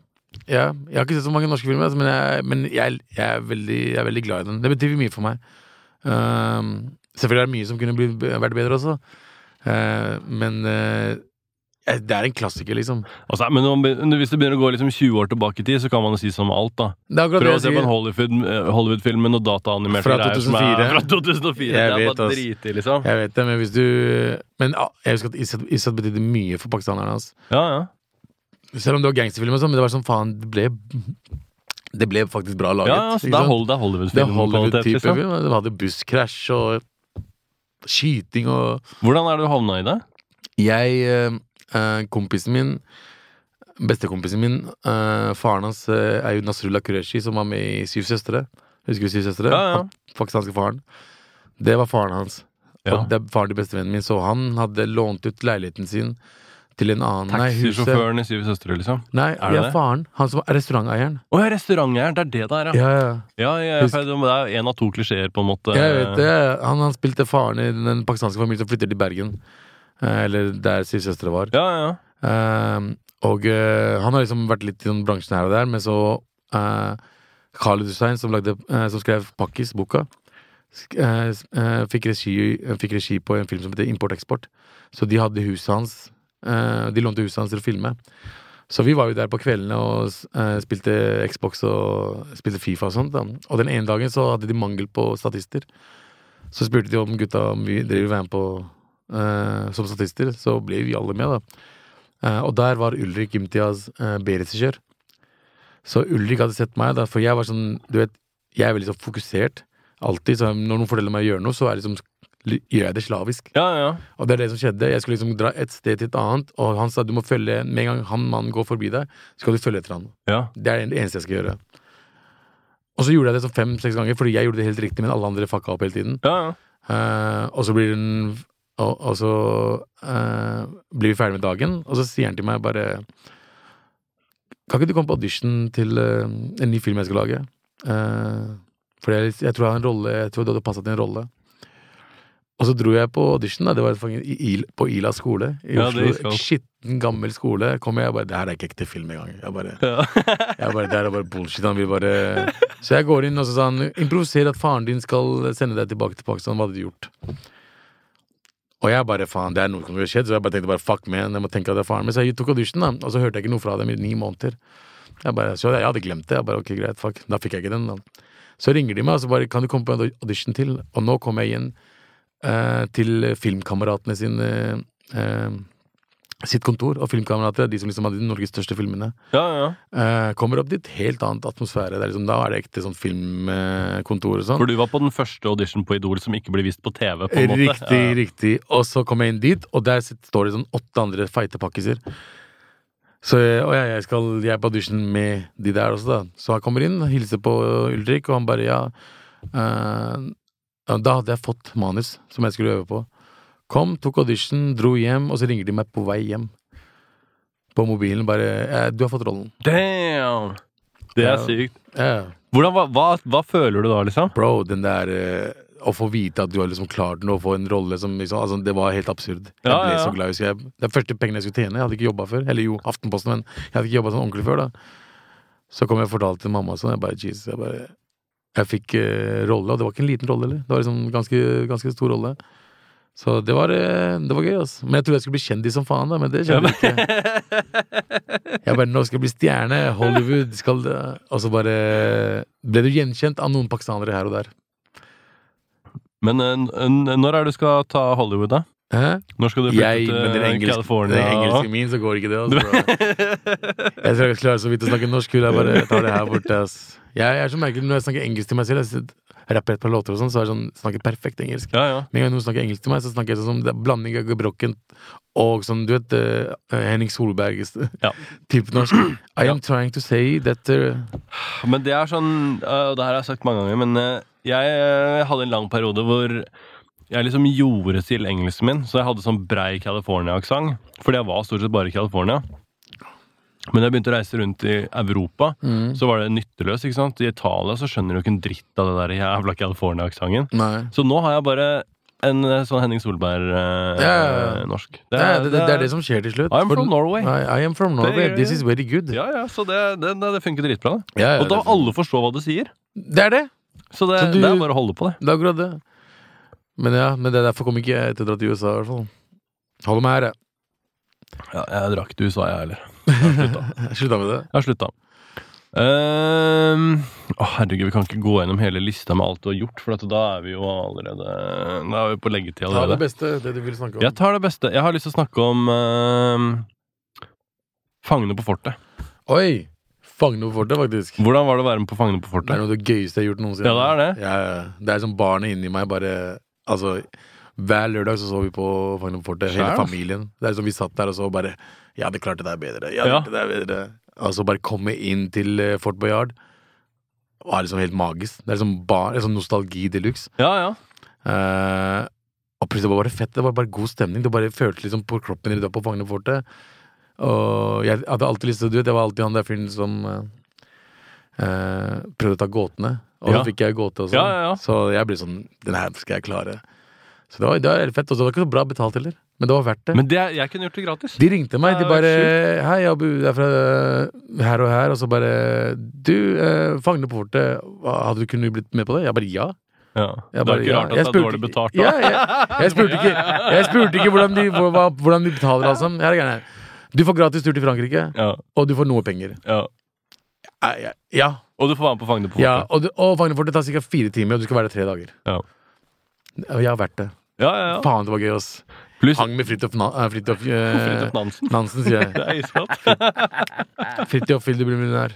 Ja, jeg har ikke sett så mange norske filmer, altså, men, jeg, men jeg, jeg, er veldig, jeg er veldig glad i den. Det betyr mye for meg. Ehm, selvfølgelig er det mye som kunne bli- vært bedre også, Eh, men eh, eh, det er en klassiker, liksom.
Altså, men om, hvis du begynner å gå liksom 20 år tilbake i tid, så kan man jo si som med alt, da.
Det er akkurat
Prøv
det
å
jeg
se på en
sier.
Hollywood, eh, Hollywood-film med noen dataanimerte
Fra
greier som er
2004.
[laughs] fra 2004.
Jeg
det er
vet,
bare
ass.
dritig, liksom.
Jeg vet det, men hvis du Men ah, jeg husker at Izzat- Izzat betydde mye for pakistanerne. Altså.
Ja, ja.
Selv om det var gangsterfilm og sånn, men det var sånn faen Det ble, det ble faktisk bra
ja,
laget.
ja altså,
ikke
det er
sant?
Hol- det er
det er
Hollywood-film.
Hollywood-type
liksom.
film. De hadde busskrasj og skyting og
Hvordan er det du havna i det?
Jeg, eh, eh, kompisen min Bestekompisen min, eh, faren hans eh, er jo Nasrullah Qureshi, som var med i Syv søstre. Husker du Syv søstre?
Ja, ja.
Han- Pakistanske faren. Det var faren hans.
Ja.
Og det er faren til bestevennen min, så han hadde lånt ut leiligheten sin til en annen Nei, huset.
Taxisjåføren i Syv søstre, liksom.
Nei,
Er det
ja,
det?
faren. Han som er restauranteieren.
Å ja, restauranteieren. Det er det det er, ja.
Ja, ja.
ja, ja,
Husk-
for det det er én av to klisjeer, på en måte.
Jeg vet det. Han, han spilte faren i den pakistanske familien som flytter til Bergen. Eh, Eller der Syv søstre var.
Ja, ja.
Ehm, og eh, han har liksom vært litt i den bransjen her og der, men så uh, Khaled Hussein, som, lagde, eh, som skrev Pakkis-boka, sk- eh, s- eh, fikk, regi, eh, fikk regi på en film som heter Import-eksport. Så de hadde huset hans eh, De lånte huset hans til å filme. Så vi var jo der på kveldene og s- eh, spilte Xbox og spilte Fifa og sånt. Da. Og den ene dagen så hadde de mangel på statister. Så spurte de om gutta om vi driver være med på eh, som statister. Så ble vi alle med, da. Eh, og der var Ulrik Imtiaz uh, B-regissør. Så Ulrik hadde sett meg, da, for jeg var sånn Du vet, jeg er veldig så fokusert. Alltid. Så når noen forteller meg å gjøre noe, så er det liksom, gjør jeg det slavisk.
ja, ja.
Og det er det som skjedde. Jeg skulle liksom dra et sted til et annet, og han sa du må følge Med en gang han mannen går forbi deg, skal du følge etter han.
ja.
Det er det eneste jeg skal gjøre. Og så gjorde jeg det sånn fem-seks ganger, fordi jeg gjorde det helt riktig, men alle andre fucka opp hele tiden.
ja, ja.
Eh, og så blir den Og, og så eh, blir vi ferdig med dagen, og så sier han til meg bare Kan ikke du komme på audition til eh, en ny film jeg skal lage? Eh, for jeg, jeg tror jeg har en rolle Jeg tror du hadde passa til en rolle. Og så dro jeg på audition. Da. Det var fangen- i, Il- på Ila skole i
Ja, det er
Oslo.
iskaldt.
Skitten, gammel skole. Kom jeg og bare Det her er ikke ekte film engang. Jeg bare,
Ja.
jeg bare, det her er bare bullshit. Han vil bare Så jeg går inn og så sa han improviser at faren din skal sende deg tilbake til Pakistan. Hva hadde du gjort? Og jeg bare faen, det er noe som har skjedd, så jeg bare tenkte bare fuck man, jeg må tenke at det er faren min. Så jeg tok audition, da, og så hørte jeg ikke noe fra dem i ni måneder. Jeg bare, så jeg hadde glemt det. Jeg bare ok, greit, fuck. Da fikk jeg ikke den, da. Så ringer de meg og så bare kan du komme på en audition til? Og nå kom jeg igjen eh, til Filmkameratene sin eh, eh, sitt kontor. Og Filmkamerater er de som liksom hadde de Norges største filmene.
ja, ja.
Eh, kommer opp dit, helt annet atmosfære. Det er liksom, da er det ekte sånn filmkontor og sånn.
For du var på den første audition på Idol som ikke ble vist på TV. på en måte.
Riktig, riktig. Og så kom jeg inn dit, og der sit- står det sånn åtte andre feite pakkiser. Så jeg, og jeg, jeg, skal, jeg er på audition med de der også, da. Så han kommer inn, hilser på Ulrik, og han bare ja. eh, ja, da hadde jeg fått manus som jeg skulle øve på. Kom, tok audition, dro hjem, og så ringer de meg på vei hjem. På mobilen bare eh, 'Du har fått rollen'.
Damn! Det er
Ja.
sykt.
Ja.
Hvordan, hva, hva, hva føler du da, liksom?
Bro, den der eh, Å få vite at du har liksom klart noe, å få en rolle som liksom altså, Det var helt absurd. Jeg
Ja, ja,
ble
ja.
så glad. husker Jeg, det er første pengene jeg skulle tjene. Jeg hadde ikke jobba før. Eller jo, Aftenposten, men jeg hadde ikke jobba sånn ordentlig før, da. Så kom jeg og fortalte til mamma og sånn. Jeg bare Jesus, jeg bare Jeg fikk eh, rolle, og det var ikke en liten rolle, eller? Det var liksom ganske, ganske stor rolle. Så det var, eh, det var gøy, altså. Men jeg trodde jeg skulle bli kjendis som faen, da, men det skjedde ikke. Jeg bare, nå skal jeg bli stjerne, Hollywood skal det Og så bare ble du gjenkjent av noen pakistanere her og der.
Men eh, n- n- når er det du skal ta Hollywood, da?
Hæ?
Når skal du flytte
Jeg,
til
med den
eh,
engelske, den
California?
engelske min, så går ikke det,
[laughs]
altså. Jeg tror jeg klarer så vidt å snakke norsk, vil jeg bare tar det her borte, ass. Jeg er så merkelig når jeg snakker engelsk til meg selv. Jeg sitter- rapper et par låter og sånn, så er jeg sånn, snakker perfekt engelsk.
ja, ja.
Med en gang noen snakker engelsk til meg, så snakker jeg sånn som det er blanding av gebrokken og sånn, du vet, eh, Henning Solberg
Ja.
[laughs] type norsk. I am trying to say that eh,
Men det er sånn øh, Det her har jeg sagt mange ganger, men øh, jeg øh, hadde en lang periode hvor jeg liksom gjorde til engelsken min, så jeg hadde sånn brei California-aksent. Fordi jeg var stort sett bare i California. Men da jeg begynte å reise rundt i Europa,
Mm.
så var det nytteløst. ikke sant? I Italia så skjønner du ikke en dritt av det der jævla California-aksenten.
Nei.
Så nå har jeg bare en øh, sånn Henning eh, Solberg-norsk.
Ja, ja, ja. Det, er- det, det er det som skjer til slutt.
I'm
For-
from Norway.
I, I am from Norway.
Det-
This is very good.
Ja, ja, så det, det, det funker dritbra. da.
Ja, ja,
Og da
det-
alle forstår hva du sier.
Det er det!
Så det,
Så du-
det er bare å holde på, det.
Det er akkurat det. Men ja, men det er derfor kom ikke jeg til å dra til USA, i hvert fall. Holder meg her, jeg.
Ja, jeg drakk ikke USA, [laughs] jeg heller.
Jeg Slutta med det.
Jeg har slutta. Ehm, å, herregud, vi kan ikke gå gjennom hele lista med alt du har gjort, for at da er vi jo allerede Da er vi på leggetid
Ta det
allerede.
beste, det du vil snakke om.
Jeg tar det beste. Jeg har lyst til å snakke om ehm, Fangene på fortet.
Oi! Fang noe for det, faktisk.
Hvordan var det å være med på Fangene på
Det er
fortet?
noe av det gøyeste jeg har gjort noensinne.
Ja, det er det.
Ja, ja. Det er som barnet inni meg bare Altså, hver lørdag så så vi på Fangene på fortet, hele
Skjær, ass.
familien. Det er som vi satt der og så bare Jeg hadde klart det der bedre. Jeg hadde
Ja.
klart det der bedre. Og så bare komme inn til eh, Fort Boyard var liksom helt magisk. Det er som bar, det er sånn nostalgi de luxe.
Ja, ja.
Eh, og plutselig var det bare fett. Det var bare god stemning. Det bare føltes liksom på kroppen din da på Fagne fortet. Og jeg hadde alltid lyst til å du vet, Jeg var alltid han der fyren som eh, eh, prøvde å ta gåtene. Og
Ja.
så fikk jeg gåte og sånn.
Ja, ja, ja.
Så jeg ble sånn Den her skal jeg klare. Så det var, det var helt fett. Og så var det ikke så bra betalt heller. Men det var verdt det.
Men det, jeg kunne gjort det gratis.
de ringte meg.
Ja,
De
det var
bare 'Hei, Abu. Det er fra eh, her og her.' Og så bare 'Du, eh, Fagne på fortet, hva- hadde du kunnet blitt med på det?' Jeg bare 'Ja'.
Ja. det
Jeg bare,
er ikke
ja.
rart at
Jeg
det er
spurte
dårlig
ikke-
betalt.
Ja,
Da.
jeg, jeg spurte
[laughs]
ikke, jeg spurte ikke hvordan, de, hvor- hva, hvordan de betaler, altså. Her er greiene. Du får gratis tur til Frankrike,
Ja,
og du får noe penger.
ja.
Ja, ja, ja,
Og du får være med på Fangene på fortet.
ja Og, du- og Vagnerfortet tar ca. fire timer, og du skal være der tre dager.
Ja.
Jeg har vært det.
ja, ja, ja.
Faen, det var gøy, ass.
Pluss
Hang med Fridtjof Na- eh, Fridtjof,
[laughs] Fridtjof
eh, [laughs]
Nansen.
Nansen, sier jeg.
Det er iskaldt.
Fridtjof vil du bli millionær.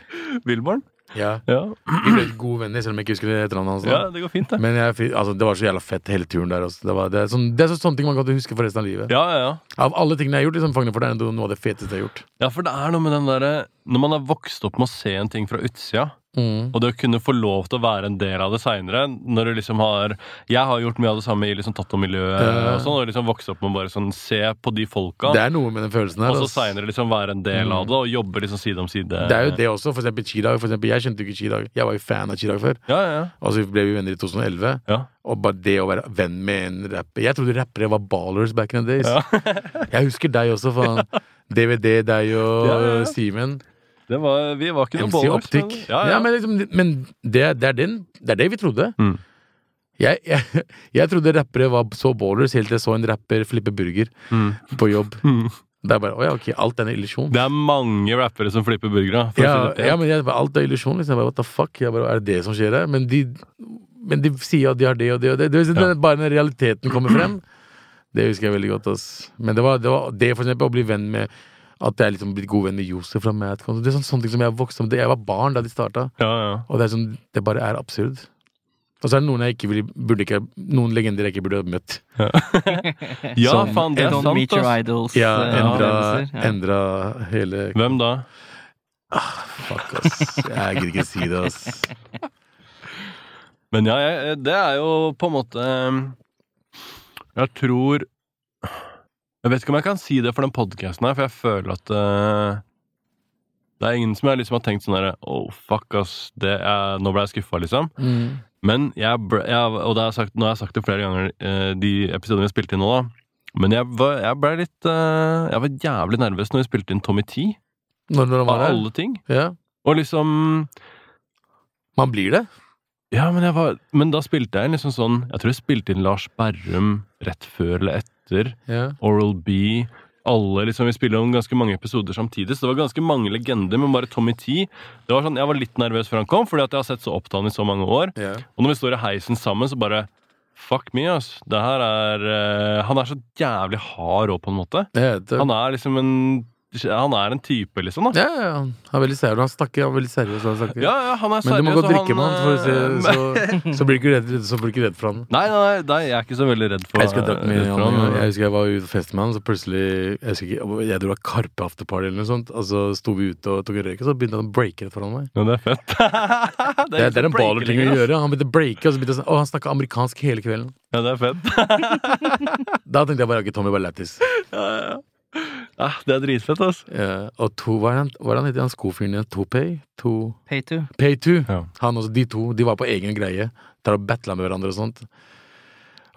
Villbarn.
Ja.
Ja.
Vi ble gode venner, selv om jeg ikke husker etternavnet hans.
ja,
da.
det går fint, det.
Men jeg, fikk- altså, det var så jævla fett, hele turen der. ass. Det, var, det, er sånn, det er sånne ting man kan huske for resten av livet.
Ja, ja, ja.
Av alle tingene jeg har gjort, liksom, Fagner for det er noe noe av det feteste jeg har gjort.
Ja, for det er noe med den derre Når man har vokst opp med å se en ting fra utsida, og det å kunne få lov til å være en del av det seinere Når du liksom har Jeg har gjort mye av det samme i liksom Tatto-miljøet
Ja.
og sånn, og liksom vokst opp med å bare sånn se på de folka,
Det er noe med den følelsen her.
og så
ass.
seinere liksom være en del av det, og jobbe liksom side om side.
Det er jo det også. For eksempel Chirag. For eksempel, jeg kjente jo ikke Chirag. Jeg var jo fan av Chirag før.
Ja, ja,
Og så ble vi venner i 2011.
ja.
Og bare det å være venn med en rapper Jeg trodde rappere var ballers back in
[laughs]
the days. jeg husker deg også, faen. DVD, deg og
Ja, ja, ja.
Simen.
Det var, vi var ikke noe
MC
bollers, men-
Optic.
Ja, ja.
men, liksom, men det, det, er den, det er det vi trodde.
Mm.
Jeg, jeg, jeg trodde rappere var så ballers helt til jeg så en rapper flippe burger
Mm.
på jobb.
Mm.
Det er bare, å ja, ok, alt er en illusjon.
Det er mange rappere som flipper burgere. for å
Ja,
si det pent.
ja, men jeg, bare, alt er illusjon. Liksom. Jeg bare, what the fuck? Jeg bare, er det det som skjer her? Men de, men de sier at de har det og det og det. det, vil si,
Ja.
det bare når realiteten kommer frem, det husker jeg veldig godt. Ass. Men det var, det var det, for eksempel, å bli venn med At jeg er liksom blitt god venn med Josef fra Madcon. Det er sånn, sånne ting som jeg vokste opp med. Jeg var barn da de starta,
ja, ja.
og det, er sånn, det bare er absurd. Og så er det noen jeg ikke ville, burde ikke, noen legender jeg ikke burde ha møtt.
ja
Som
faen, det er
Sånn. Don't
sant,
Meet Your
ass.
Idols.
Ja, [laughs]
eh,
endra,
opplevelser, ja.
endra hele
Hvem da?
Fuck, ass. Jeg gidder ikke si det, ass.
Men ja, jeg, det er jo på en måte ehm, Jeg tror Jeg vet ikke om jeg kan si det for den podkasten her, for jeg føler at eh, det er ingen som jeg liksom har tenkt sånn herre Oh, fuck, ass. Det er, nå ble jeg skuffa, liksom.
Mm.
Men jeg, ble, jeg Og det har jeg sagt, nå har jeg sagt det flere ganger, eh, de episodene vi spilte inn nå, da. Men jeg, var, jeg ble litt eh, Jeg var jævlig nervøs når vi spilte inn Tommy T.
Når, når han
Av
var her.
alle ting.
Ja.
Og liksom
Man blir det.
Ja, men, jeg var, men da spilte jeg en liksom sånn Jeg tror jeg spilte inn Lars Berrum rett før eller etter.
Ja.
Oral B. Alle liksom, Vi spiller om ganske mange episoder samtidig, så det var ganske mange legender, men bare Tommy T. Det var sånn, Jeg var litt nervøs før han kom, fordi at jeg har sett så opp til han i så mange år.
Ja.
Og når vi står i heisen sammen, så bare Fuck me, ass. Det her er eh, Han er så jævlig hard òg, på en måte.
Ja, det-
Han er liksom en Han er en type, liksom. da
ja, ja, ja. Han er veldig seriøs. Han snakker, han er veldig seriøs. Han snakker.
Ja, ja, han er
Men du må
seriøs,
gå og
og
drikke med han, for å sånn.
eh,
se, så, så, blir du ikke redd, så blir du ikke redd for han.
Nei, nei, nei, nei, jeg er ikke så veldig redd for eh,
Jeg husker jeg drakk mye
redd for
han,
han,
en gang.
men-
Jeg husker jeg var ute og festet med han, så plutselig Jeg husker ikke, jeg tror det var Karpe afterparty eller noe sånt. Og så sto vi ute og tok en røyk, og så begynte han å breake rett foran meg.
Ja, det er fett. [laughs]
Det, er- det er en
ikke så
baller ting å
breaking, ass.
gjøre. Han begynte å breake, og så begynte han å Å, han snakka amerikansk hele kvelden.
Ja, det er fett.
[laughs] Da tenkte jeg bare ok, Tommy var lættis.
Ja, ja. Ja,
Ah.
det er dritfett, ass.
Ja, Eh, og to, hva er han, hva er han heter han skofyren igjen? Topay? To
Pay to.
Pay2.
Ja.
Han også, de to. De var på egen greie. Tar og battla med hverandre og sånt.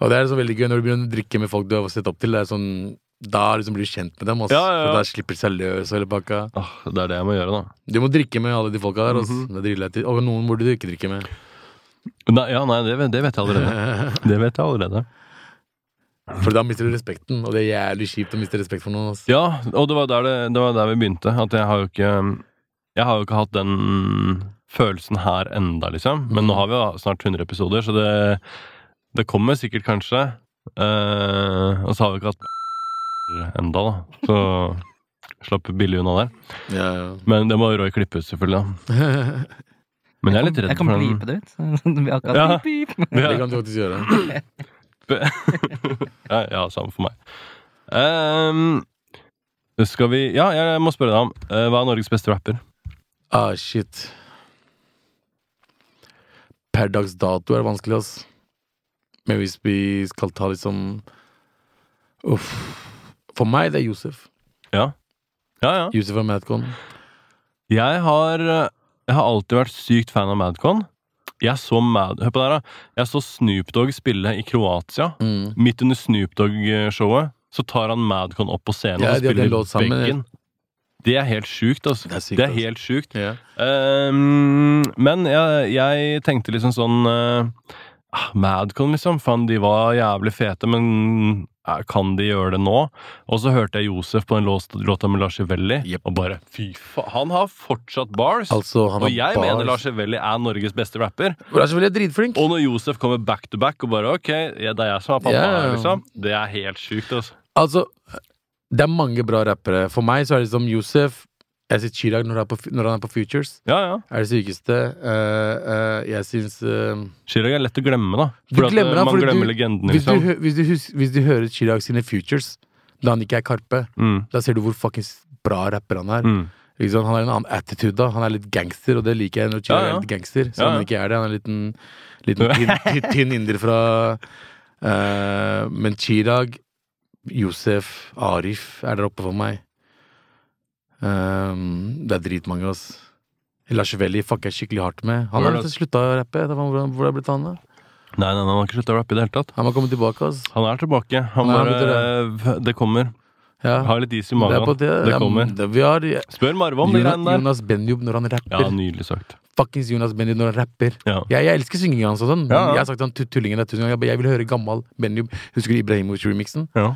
Og det er så veldig gøy når du begynner å drikke med folk du har sett opp til. Det er sånn da liksom blir du kjent med dem. ass.
Ja, ja, ja.
For Da slipper de seg løs. og hele pakka.
Åh, det er det jeg må gjøre, da.
Du må drikke med alle de folka der. ass.
Mhm.
Det er dritlættis. Og noen burde du ikke drikke med.
Nei, ja, nei, det, det vet jeg
[laughs]
allerede. Det vet jeg allerede.
For da mister du respekten, og det er jævlig kjipt å miste respekt for noen. altså. ass.
Ja, og det var der, det, det var der vi begynte. At jeg har jo ikke Jeg har jo ikke hatt den følelsen her enda, liksom. Men nå har vi jo snart 100 episoder, så det, det kommer sikkert kanskje. Eh, og så har vi ikke hatt [laughs] enda, da. Så slapp billig unna der.
Ja, [laughs] ja.
Men det må Roy klippe ut, selvfølgelig. da. Men jeg er litt
Jeg
redd
kan
for den.
bleepe det ut. [laughs] Det blir akkurat
Ja.
beep, beep.
[laughs] Ja.
Det kan du faktisk gjøre.
Ja, ja samme for meg. Ehm, skal vi Ja, jeg må spørre deg om eh, hva er Norges beste rapper?
Ah, shit. Per dags dato er det vanskelig, ass. Men hvis vi skal ta liksom Uff. For meg det er Josef.
Ja. Ja, ja.
Josef og Madcon.
Jeg har, eh, jeg har alltid vært sykt fan av Madcon. Jeg så Mad... Hør på det her, da. Jeg så Snoop Dogg spille i Kroatia.
Mm.
Midt under Snoop Dogg-showet så tar han Madcon opp på scenen
Ja,
og
de hadde en
spiller
låt sammen,
Beggen. Det er helt sjukt, altså.
Det er sykt,
Det er
altså.
helt sjukt.
Ja.
Ehm, men jeg, jeg tenkte liksom sånn eh, ah, Madcon, liksom. Faen, de var jævlig fete, men eh, kan de gjøre det nå? Og så hørte jeg Josef på den lås- låta med Larsevelli,
Jep.
og bare fy faen. Han har fortsatt bars.
Altså, han
og jeg mener
Lars
Larsevelli er Norges beste rapper.
Larsjevelli er dritflink.
Og når Josef kommer back to back og bare OK, ja, det er jeg som er pappa
Ja.
her, liksom. Det er helt sjukt, altså.
Altså, det er mange bra rappere. For meg så er det liksom Josef Jeg sier Chirag når han er på, når han er på Futures.
Ja, ja.
Er det sykeste. Eh, eh, jeg syns eh,
Chirag er lett å glemme, da.
Du
For at,
glemmer
eh,
han
man
fordi
glemmer
du-
legenden,
hvis, du,
liksom.
hø- hvis, du hus, hvis du hører Chirag sine Futures, da han ikke er Karpe,
Mm,
da ser du hvor fuckings bra rapper han er.
mm.
Ikke sant? Han har en annen attitude. da Han er litt gangster, og det liker jeg når Chirag
Ja, ja.
er litt gangster. Så
Ja, ja.
han ikke er det. Han er en liten, liten
[laughs]
tynn, tynn, tynn inder fra eh, Men Chirag, Josef, Arif er der oppe for meg. Ehm, det er dritmange, ass. Lars Velli fucker jeg skikkelig hardt med. Han har
Hvordan-
nesten slutta å rappe. Da, Hvordan hvor er det blitt av han, da?
Nei, nei, nei, han har ikke slutta å rappe i det hele tatt.
Han må komme tilbake, ass.
Han er tilbake. Han
Nei,
bare, eh,
han
det kommer.
Ja.
Ha litt is i
Det er
magen.
på
Det,
det. Ja,
kommer.
men det- Vi har
Spør Marve om de
Jonas,
greiene der.
Jonas Benjob når han
Ja,
rapper.
nydelig sagt.
Fuckings Jonas Benjob når han rapper.
Ja.
Jeg, jeg elsker syngingen hans og sånn. men
Ja, ja.
Jeg har sagt han tu- tullingen der tusen ganger. Jeg, bare, jeg vil høre gammal Benjob. Husker du Ibrahimovic-remixen?
Ja.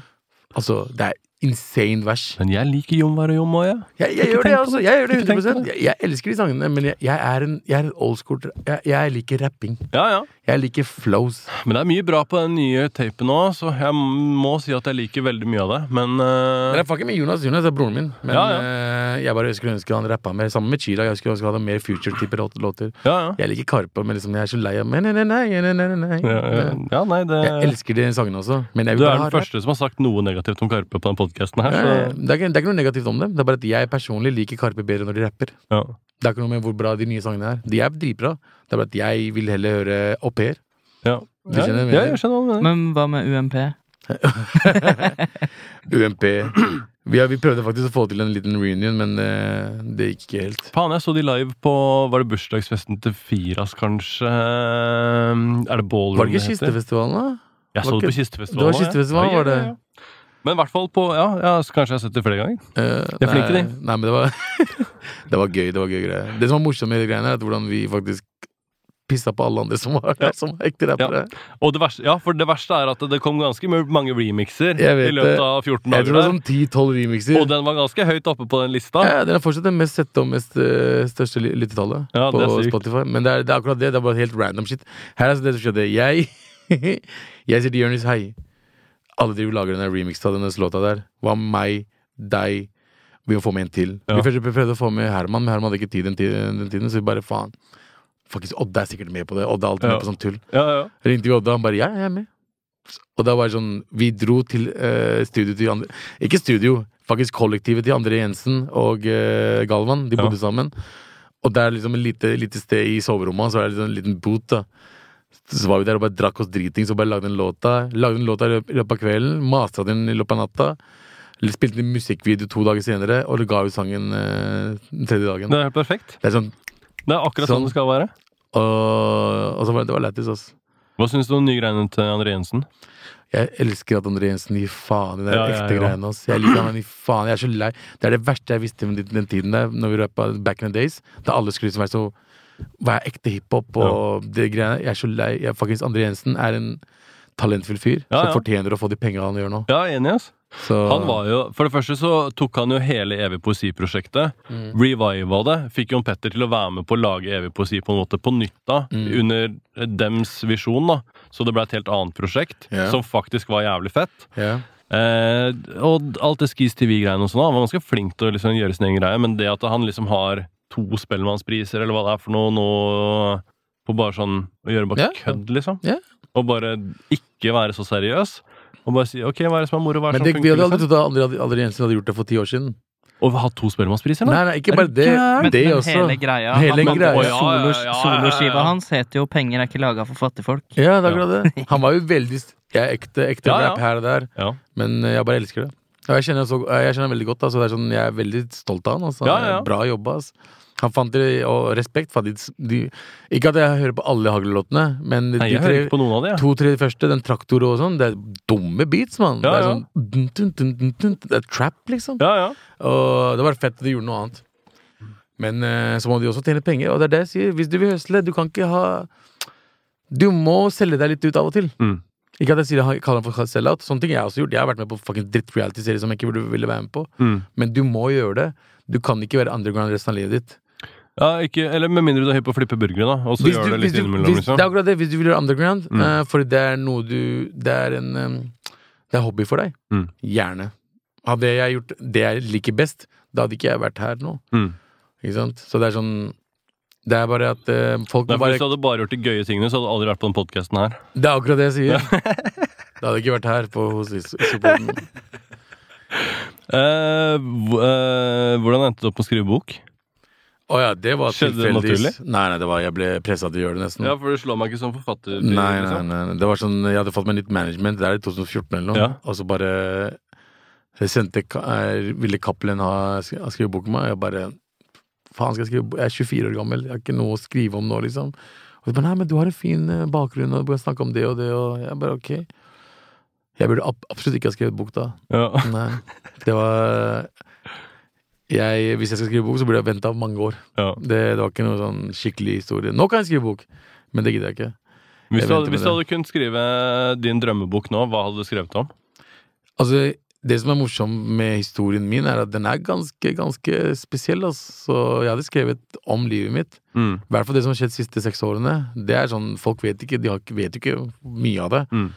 Altså, det er insane vers.
Men jeg liker Jomvar og Jom òg, jeg.
Jeg, jeg
tenk
gjør det,
på
altså. Jeg gjør det
Ikke tenk på
100 Jeg, jeg elsker de sangene, men jeg, jeg er en, jeg er en old school jeg, jeg liker rapping.
Ja, ja.
Jeg liker flows.
Men det er mye bra på den nye tapen òg, så jeg må si at jeg liker veldig mye av det. Men
Men
eh,
jeg fucker med Jonas. Jonas er broren min. Men
Ja,
eh, jeg bare skulle ønske han rappa mer. Sammen med Chirag. Jeg skulle ønske han hadde mer future-type låt- låter.
ja, ja.
Jeg liker Karpe, men liksom, jeg er så lei av nei, nei, nei, nei, nei, nei,
Ja, ja.
nei.
ja, nei, det
Jeg elsker de sangene også. Men jeg
Du
vil
er
bare ha
den
rap.
første som har sagt noe negativt om Karpe på den podkasten her,
Ja,
så
ja, ja. Eh, Det er, ikke, det er ikke noe negativt om dem. Det er bare at jeg personlig liker Karpe bedre når de rapper.
ja.
Det er ikke noe med hvor bra de nye sangene er. De er dritbra. Det er bare at jeg vil heller høre au pair.
Ja.
Du
Ja,
skjønner hva jeg
ja,
mener.
jeg skjønner hva du mener.
Men hva med UMP?
UMP. Vi, har, vi prøvde faktisk å få til en liten reunion, men eh, det gikk ikke helt.
Faen, jeg så de live på Var det bursdagsfesten til Firas, kanskje? Er det ballroom
Var det ikke
heter?
Kistefestivalen, da?
Jeg så
Var
det på
ikke-
Kistefestivalen.
det var Kistefestivalen,
ja. Ja,
var det?
ja, ja. Men i hvert fall på Ja, ja så kanskje jeg har sett det flere ganger.
Eh,
De er flinke,
nei,
de.
Nei, [laughs] men det var, det var gøy. Det var gøy greier. Det som var morsomt med de greiene, er at hvordan vi faktisk pissa på alle andre som var der, [laughs] som var ekte rappere.
Og det verste, ja, for det verste er at det kom ganske mye- mange remixer
Jeg vet
i løpet
det.
av 14
Jeg tror
dager.
det var
der
sånn 10-12 remixer.
Og den var ganske høyt oppe på den lista.
Ja, den er fortsatt den mest sette og mest eh, største ly- lyttetallet
Ja, det er
på
sykt.
Spotify. Men det er, det er akkurat det. Det er bare helt random shit. Her er altså det som skjedde. Jeg [laughs] Jeg sier til Jonis hei. Alle driver og lager den remixen av denne låta der. Hva med meg, deg Vi må få med en til.
Ja.
Vi først prøvde å få med Herman, men Herman hadde ikke tid den, ti- den tiden, så vi bare faen. Faktisk, Odda er sikkert med på det. Odda er alltid
Ja.
med på sånn tull.
Ja, ja.
Ringte vi Odda, han bare ja, jeg er med. Og da var det sånn Vi dro til eh, studio til andre Ikke studio, faktisk kollektivet til André Jensen og eh, Galvan. De
Ja.
bodde sammen. Og det er liksom et lite, lite sted i soverommet, hans, så er det liksom en liten bot. da Så var vi der og bare drakk oss dritings og bare lagde en låta. Lagde en låta i løp- i løpet av kvelden, masta den i løpet av natta. Spilte en musikkvideo to dager senere, og det ga ut sangen eh, den tredje dagen.
Det er helt perfekt.
Det er sånn
Det er akkurat sånn
Sånn.
det skal være.
Og, og så var det, det var lættis, altså.
Hva syns du om nye greiene til André Jensen?
Jeg elsker at André Jensen gir faen i de
Ja, ja,
ekte
ja.
greiene. Ass. Jeg liker han, han gir faen. Jeg er så lei. Det er det verste jeg visste om den, den tiden der, når vi rappa back in the days. Da alle skulle liksom være så Være ekte hiphop og de greiene. Jeg er så lei. Jeg, faktisk, André Jensen er en talentfull fyr
Ja, ja.
som fortjener å få de penga han gjør nå.
Ja, enig, ass.
Så,
Han var jo, For det første så tok han jo hele Evig poesi-prosjektet,
Mm.
reviva det, fikk Jon Petter til å være med på å lage Evig poesi på en måte på nytt da,
Mm.
under eh, dems visjon, da. Så det ble et helt annet prosjekt,
Ja.
som faktisk var jævlig fett.
ja.
Eh, og alt det Skis TV-greiene og sånn, han var ganske flink til å liksom gjøre sin egen greie, men det at han liksom har to Spellemannspriser, eller hva det er for noe, nå på bare sånn å gjøre bare
Ja.
kødd, liksom,
Ja.
og bare ikke være så seriøs, og bare si OK, hva er det som er moro, hva er
Men
det
det,
som
vi
funker?
hadde
Liksom?
aldri trodd at André, André Jensen hadde gjort det for ti år siden.
Og ha to Spellemannspriser, da?
Nei, nei, ikke
Er
bare
du
det.
gæren?
Det
men
også.
hele greia,
Hele
han-
greia. Å,
solo-
ja,
ja,
ja, ja, ja, ja.
Soloskiva hans heter jo 'Penger er ikke laga for fattigfolk'.
Ja, det er akkurat det. Han var jo veldig s- Jeg er ekte, ekte
Ja, ja.
rap her og der.
Ja.
Men eh, jeg bare elsker det. Og jeg kjenner, han så, jeg kjenner han veldig godt. Altså, det er sånn, jeg er veldig stolt av han. Altså.
Ja, ja, ja.
Bra jobba. Altså. Han fant det, og respekt for de, de Ikke at jeg hører på alle Hagle-låtene, men de,
Nei, jeg hører ikke
tre,
på noen av de, jeg.
to-tre første, den traktor og sånn, det er dumme beats, mann.
Ja,
Det er
ja.
sånn dun, dun, dun, dun, dun, Det er trap, liksom.
Ja, ja.
Og det var fett at de gjorde noe annet. Men eh, så må de også tjene penger, og det er det jeg sier. Hvis du vil høsle, du kan ikke ha Du må selge deg litt ut av og til.
Mm.
Ikke at jeg sier jeg kaller den for sell-out. Sånne ting jeg har også gjort. Jeg har vært med på fucking dritt reality-serier som jeg ikke burde- ville være med på.
Mm.
Men du må gjøre det. Du kan ikke være underground resten av livet ditt.
ja ikke, eller med mindre du er hypp på å flippe burgere, da. Og så
Hvis
gjør
du-
det litt
hvis du-
innimellom,
hvis-
liksom.
Det er akkurat det. Hvis du vil gjøre underground,
Mm.
eh, fordi det er noe du Det er en em, Det er hobby for deg.
Mm.
Gjerne. Hadde jeg gjort det jeg liker best, da hadde ikke jeg vært her nå.
Mm.
Ikke sant? Så det er sånn Det er bare at eh, folk
Nei, for
må bare
Hvis du hadde bare gjort de gøye tingene, så hadde du aldri vært på den podkasten her.
Det er akkurat det jeg [laughs] sier. Det hadde ikke vært her på, hos Supporten.
Eh, hv- eh, hvordan endte du opp med å skrive bok?
Å ja, det var
Skjedde det
tilfeldigvis. Nei, nei, det var, jeg ble pressa til å gjøre det, nesten.
Ja, for du slår meg ikke som forfatter.
Mm.
liksom.
nei, nei, nei, nei. Det var sånn, Jeg hadde fått meg nytt management, det er i 2014 eller noe,
Ja.
og så bare jeg sendte, Ka- eh, Ville Cappelen ha sk- ha skrevet boken min? Og jeg bare Faen, skal jeg skrive bo- Jeg er 24 år gammel, jeg har ikke noe å skrive om nå, liksom. Og så bare Nei, men du har en fin eh, bakgrunn, og du kan snakke om det og det, og jeg bare ok. Jeg burde ab- absolutt ikke ha skrevet bok da.
Ja.
Nei. Det var jeg, Hvis jeg skal skrive bok, så burde jeg venta mange år.
Ja.
Det, det var ikke noe sånn skikkelig historie. Nå kan jeg skrive bok, men det gidder jeg ikke.
Hvis,
Jeg
du hadde,
venter med
hvis du hadde kunnet skrive din drømmebok nå, hva hadde du skrevet om?
Altså, det som er morsomt med historien min, er at den er ganske, ganske spesiell. Altså. Så jeg hadde skrevet om livet mitt.
Mm.
I hvert fall det som har skjedd de siste seks årene. Det er sånn, Folk vet ikke, de har, ikke- vet jo ikke mye av det.
Mm.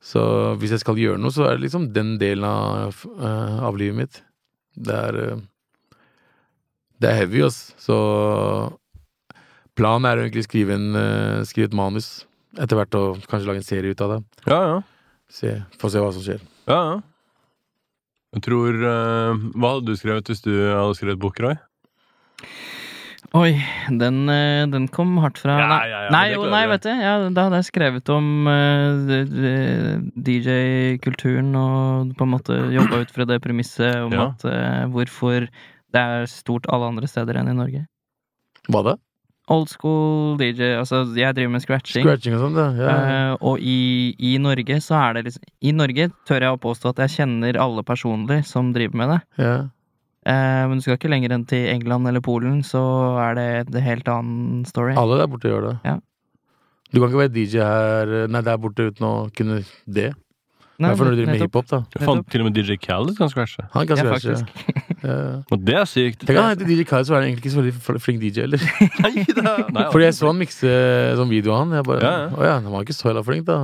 Så hvis jeg skal gjøre noe, så er det liksom den delen av, eh, av livet mitt. Det er eh, Det er heavy, ass. Så planen er å egentlig skrive, en, eh, skrive et manus etter hvert, og kanskje lage en serie ut av det.
Ja, ja.
Se, Få se hva som skjer.
ja, ja. Jeg tror eh, Hva hadde du skrevet hvis du hadde skrevet bok, Roy?
Oi, den, eh, den kom hardt fra
Ja,
Nei,
ja, ja,
nei,
det
jo,
klarer
nei
jeg.
vet du. Ja, da hadde jeg skrevet om eh, DJ-kulturen og på en måte jobba ut fra det premisset om
Ja.
at eh, hvorfor det er stort alle andre steder enn i Norge.
Hva da?
Old school DJ, altså jeg driver med scratching.
Scratching og sånn, da? Ja.
Eh, og i, i Norge så er det liksom I Norge tør jeg å påstå at jeg kjenner alle personlig som driver med det.
ja.
Eh, men du skal ikke lenger enn til England eller Polen, så er det en helt annen story.
Alle der borte gjør det.
Ja.
Du kan ikke være DJ her eh, Nei, der borte uten å kunne det.
Nei,
Derfor når du driver med
nettopp.
hiphop, da.
Jeg fant til og med DJ Khaled kan scratche.
Han kan
Ja,
scratche.
faktisk.
Ja.
Og det er sykt.
Tenk at han heter DJ Khaled, så er han egentlig ikke så veldig fl- flink DJ heller.
[laughs] Nei da. Nei,
[laughs] Fordi jeg så han mikse sånn video av han. Jeg bare,
Ja, ja.
Å ja, han var ikke så jævla flink, da.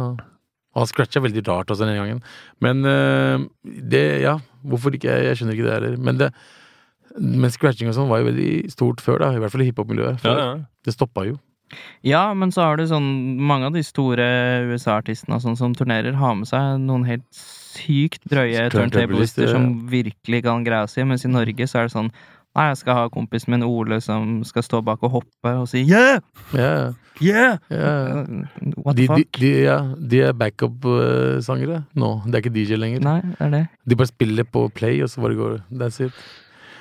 Og han scratcha veldig rart også den ene gangen. Men eh, det, ja. Hvorfor ikke? Jeg, jeg skjønner ikke det heller. Men, det, men scratching og sånn var jo veldig stort før, da. I hvert fall i hiphop-miljøet.
Ja,
før.
ja.
Det stoppa jo.
Ja, men så har du sånn Mange av de store USA-artistene og sånn som turnerer, har med seg noen helt sykt drøye
Turntablister,
turntablister
ja.
som virkelig kan greia si, mens i Norge så er det sånn Nei, jeg skal ha kompisen min Ole som skal stå bak og hoppe og si yeah!
Ja,
Yeah! Uh,
ja.
What
De,
the
de,
fuck?
de, ja, de er backup-sangere nå. Det er ikke DJ lenger.
Nei, det er det.
De bare spiller på play, og så bare går det. That's it.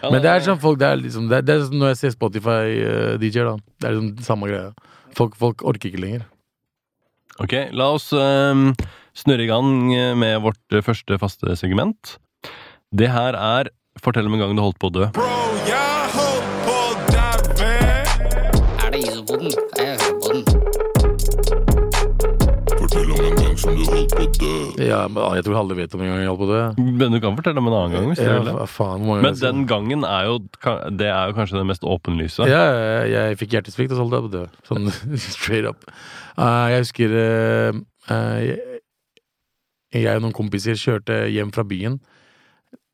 Men det er sånn folk det er liksom, det er, det er sånn Når jeg ser Spotify-DJ, da, det er liksom samme greia. Folk, folk orker ikke lenger.
Ok, la oss ehm, snurre i gang med vårt eh, første faste segment. Det her er Fortell om en gang du holdt på å dø.
Bro, jeg holdt på å daue.
Er det is på den? Ja, jeg hører på den.
Fortell om en gang som du holdt på å dø.
Ja, men ah, Jeg tror alle vet om en gang jeg holdt på det.
Men du kan fortelle om en annen gang. hvis du vil det.
Ja, faen, hvor mange
Men
ganger
den
jeg-
gangen er jo, ka- det er jo kanskje det mest åpenlyse.
ja, jeg, jeg fikk hjertesvikt, og så holdt jeg på å dø. Sånn straight up. Eh, jeg husker eh, eh, jeg, jeg og noen kompiser kjørte hjem fra byen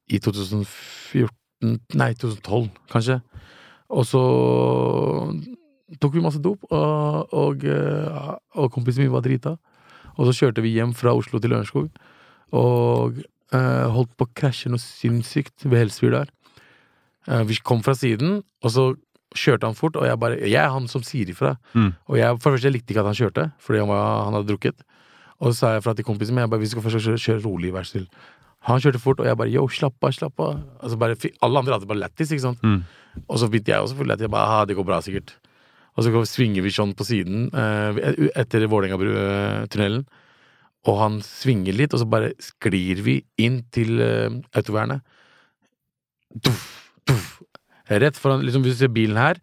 i 2014 Nei, 2012, kanskje. Og så tok vi masse dop, og, og, eh, og kompisen min var drita. Og så kjørte vi hjem fra Oslo til Lørenskog, og eh, holdt på å krasje noe sinnssykt ved Helsfyr der. Eh, vi kom fra siden, og så kjørte han fort, og jeg bare Jeg er han som sier ifra.
Mm.
Og jeg, for det første, jeg likte ikke at han kjørte, fordi han, var, han hadde drukket. Og så sa jeg fra til kompisen min, jeg bare, vi skal først kjøre, kjøre rolig, vær så snill. Han kjørte fort, og jeg bare yo, slapp av, slapp av. Altså bare, fi- alle andre hadde bare lættis, ikke sant.
Mm.
Og så begynte jeg også å få lættis. Jeg bare, ah, det går bra, sikkert. Og så kom- svinger vi sånn på siden eh, etter Vålerenga-tunnelen. Og han svinger litt, og så bare sklir vi inn til eh, autovernet. Duff, duff. Rett foran, liksom hvis du ser bilen her.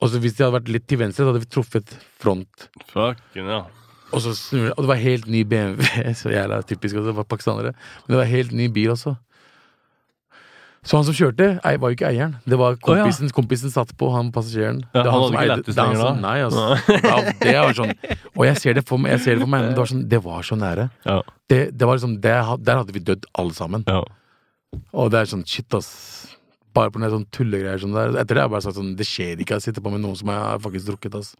Og så hvis de hadde vært litt til venstre, så hadde vi truffet front.
Fucking, ja.
Og så snur det, og det var helt ny BMW, [laughs] så jævla typisk, og det var pakistanere. Men det var helt ny bil også. Så han som kjørte, ei, var jo ikke eieren. Det var
ja.
kompisen, kompisen satt på, han passasjeren.
Ja,
Det er
han
som
hadde ikke
eide-
lættis
det er han
lenger
som-
da.
Nei, altså. [laughs] Ja, det var sånn. Og jeg ser det for meg, jeg ser det for meg men det var, sånn, det var så nære.
Ja,
Det, det var liksom, det, ha- der hadde vi dødd alle sammen.
ja.
Og det er sånn, shit ass. Bare på noen sånne tullegreier som det er. Etter det har jeg bare sagt sånn, det skjer ikke, jeg sitter på med noen som jeg har faktisk drukket, ass.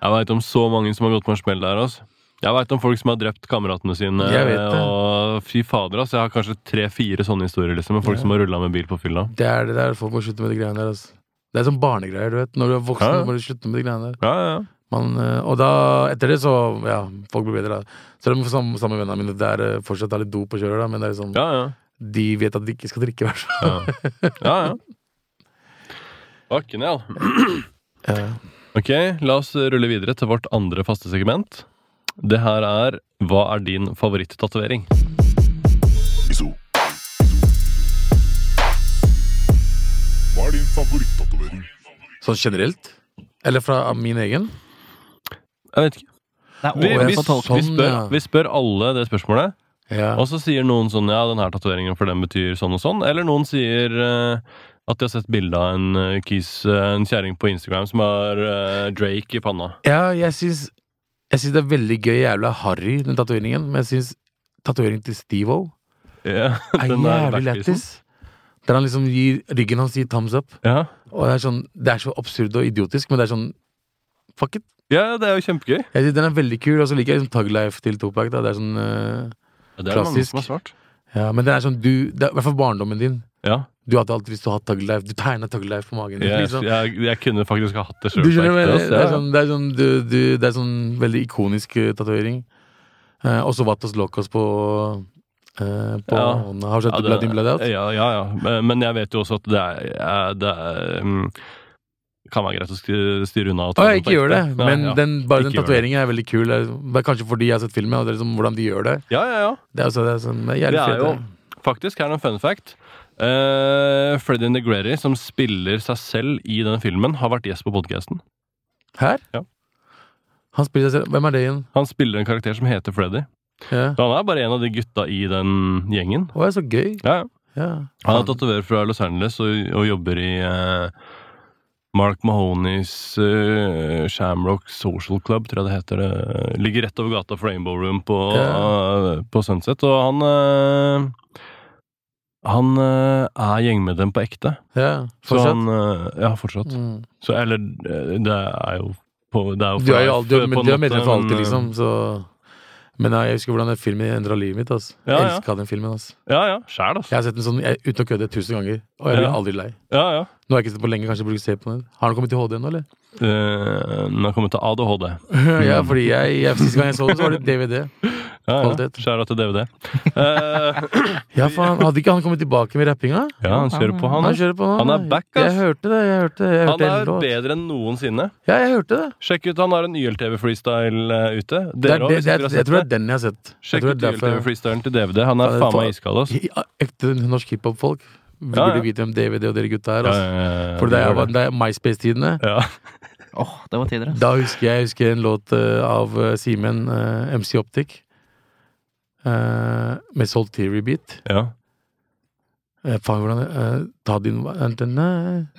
Jeg veit om så mange som har gått på en smell der. Altså. Jeg veit om folk som har drept kameratene sine.
Jeg vet det.
Og fy fader, altså. Jeg har kanskje tre-fire sånne historier liksom, med folk
Ja.
som har rulla med bil på fylla.
Det er det der, folk må slutte med de greiene der. Altså. Det er sånn barnegreier, du vet. Når du er voksen,
Ja, ja.
så må du slutte med de greiene der.
Ja, ja, ja.
Man, eh, og da, etter det, så Ja, folk blir bedre, da. Selv om sammen, sammen med vennene mine det er eh, fortsatt er litt dop og kjører, da, men det er liksom,
ja, ja.
de vet at de ikke skal drikke, i hvert fall.
Ja, ja. ja. Bakken, ja.
Ja.
Ok, la oss rulle videre til vårt andre faste segment. Det her er Hva er din favorittatovering?
Iso. Hva er din favorittatovering?
Sånn generelt? Eller fra min egen?
Jeg vet ikke.
Det
Vi,
er
Å, jeg
vi,
får
vi,
tolke. Sånn,
spør,
ja.
vi spør alle det spørsmålet,
Ja.
og så sier noen sånn Ja, den her tatoveringen for den betyr sånn og sånn. Eller noen sier eh, at de har sett bilde av en eh, kis, eh, en kjerring på Instagram som har eh, Drake i panna.
Ja, jeg syns Jeg syns det er veldig gøy, jævla harry, den tatoveringen, men jeg syns tatoveringen til Steve-O
Ja,
er
[laughs] den der
jævlig
backpisen.
lættis. Der han liksom gir ryggen hans gir thumbs up.
Ja.
Og det er, sånn, det er så absurd og idiotisk, men det er sånn Fuck it.
ja, det er jo kjempegøy.
Jeg synes Den er veldig kul, og så liker jeg liksom Tug Life til Topak. Da. Det er sånn, eh,
Ja, det er det mange
Klassisk.
som har svart.
ja, men den er sånn du det er, I hvert fall barndommen din.
Ja.
Du hadde alltid lyst til å ha Tug Life. Du tegna Tug Life på magen. din,
Jeg,
liksom.
jeg, jeg kunne faktisk ha hatt det sjøl.
Du skjønner hva jeg mener? Det er sånn, det er sånn, du, du, det er sånn veldig ikonisk uh, tatovering. Eh, også Vatos Locos på, eh, på
Ja.
hånda. Har du
Ja,
sett ja, Blood In Blood Out?
Ja, ja, ja. Men- Men jeg vet jo også at det er, eh, det er mm, kan være greit å sk- styre unna. og ta
Å,
den
jeg
på
ikke gjør det,
ekte. Nei,
men
ja.
den, bare den
Ikke gjør det.
tatoveringen er veldig kul. Det er- liksom, Det er kanskje fordi jeg har sett filmen, og det er liksom hvordan de gjør det.
ja, ja, ja.
Det er, også, det er, sånn, det
Det
er jævlig
er
fett,
jo
det.
Faktisk, her er en fun fact. Uh, Freddy Negretti, som spiller seg selv i denne filmen, har vært gjest på podkasten.
Her?
Ja.
Han spiller seg selv. Hvem er det igjen?
Han spiller en karakter som heter Freddy.
Ja.
Så han er bare en av de gutta i den gjengen.
Å, det er så gøy.
Ja, ja.
Ja.
Han er tatoverer fra Los Angeles og, og jobber i eh, Mark Mahoneys eh, Shamrock Social Club, tror jeg det heter. det. Ligger rett over gata for Rainbow Room på,
Ja.
eh, på Sunset. Og han eh, Han eh, er gjengmedlem på ekte.
Ja.
Så
Fortsett.
han eh, Ja, fortsatt.
Mm.
Så eller eh, Det er jo på, det er jo
Du er jo
life,
alltid, du,
eh, på
er-
en
du er
måte,
medlem for alltid,
men, eh,
liksom. Så. Men nei, jeg husker hvordan den filmen endra livet mitt. Altså.
Ja,
jeg
ja.
elska den filmen. Altså.
Ja, ja. Sjæl,
Jeg
altså.
har sett den sånn jeg, uten å kødde tusen ganger, og jeg blir
Ja.
aldri lei.
Ja, ja.
Nå har jeg ikke sett den på lenge, kanskje jeg burde se på den. Har den kommet til HD nå,
[laughs]
eller?
Eh, Den har kommet til ADHD.
ja, fordi jeg, jeg, Sist gang jeg så den, så var det DVD.
Ja, ja.
Kvalitet.
Skjæra til DVD. Eh,
Ja, faen, Hadde ikke han kommet tilbake med rappinga?
ja, han kjører på, han.
Han kjører på nå.
Han er back, ass.
Jeg hørte det. jeg hørte det,
Han
jeg hørte hele
er
låt.
bedre enn noensinne.
Ja, jeg hørte det.
Sjekk ut, han har en YLTV-freestyle eh, ute.
Det er,
Dere
det,
òg,
det,
hvis dere
er-
har
jeg
sett
tror det er
det.
den jeg har sett. Jeg
Sjekk
tror
ut
det er derfor-
YLTV-freestylen til DVD. Han er
Ja, det er
faen meg
fa-
iskald, altså.
Ja, Ekte norsk hiphop-folk. Vi
Ja, ja.
burde vite hvem DVD og dere gutta er.
Ja,
Altså.
ja, ja,
For
det
da jeg
gjør
var
det.
da jeg- MySpace-tidene,
Ja.
Åh, det var altså. tidligere.
da husker jeg, jeg husker en låt eh, av eh, Simen, eh, MC Optic, eh, med Soul Theory Beat.
ja.
Eh, faen, hvordan eh, Ta din vei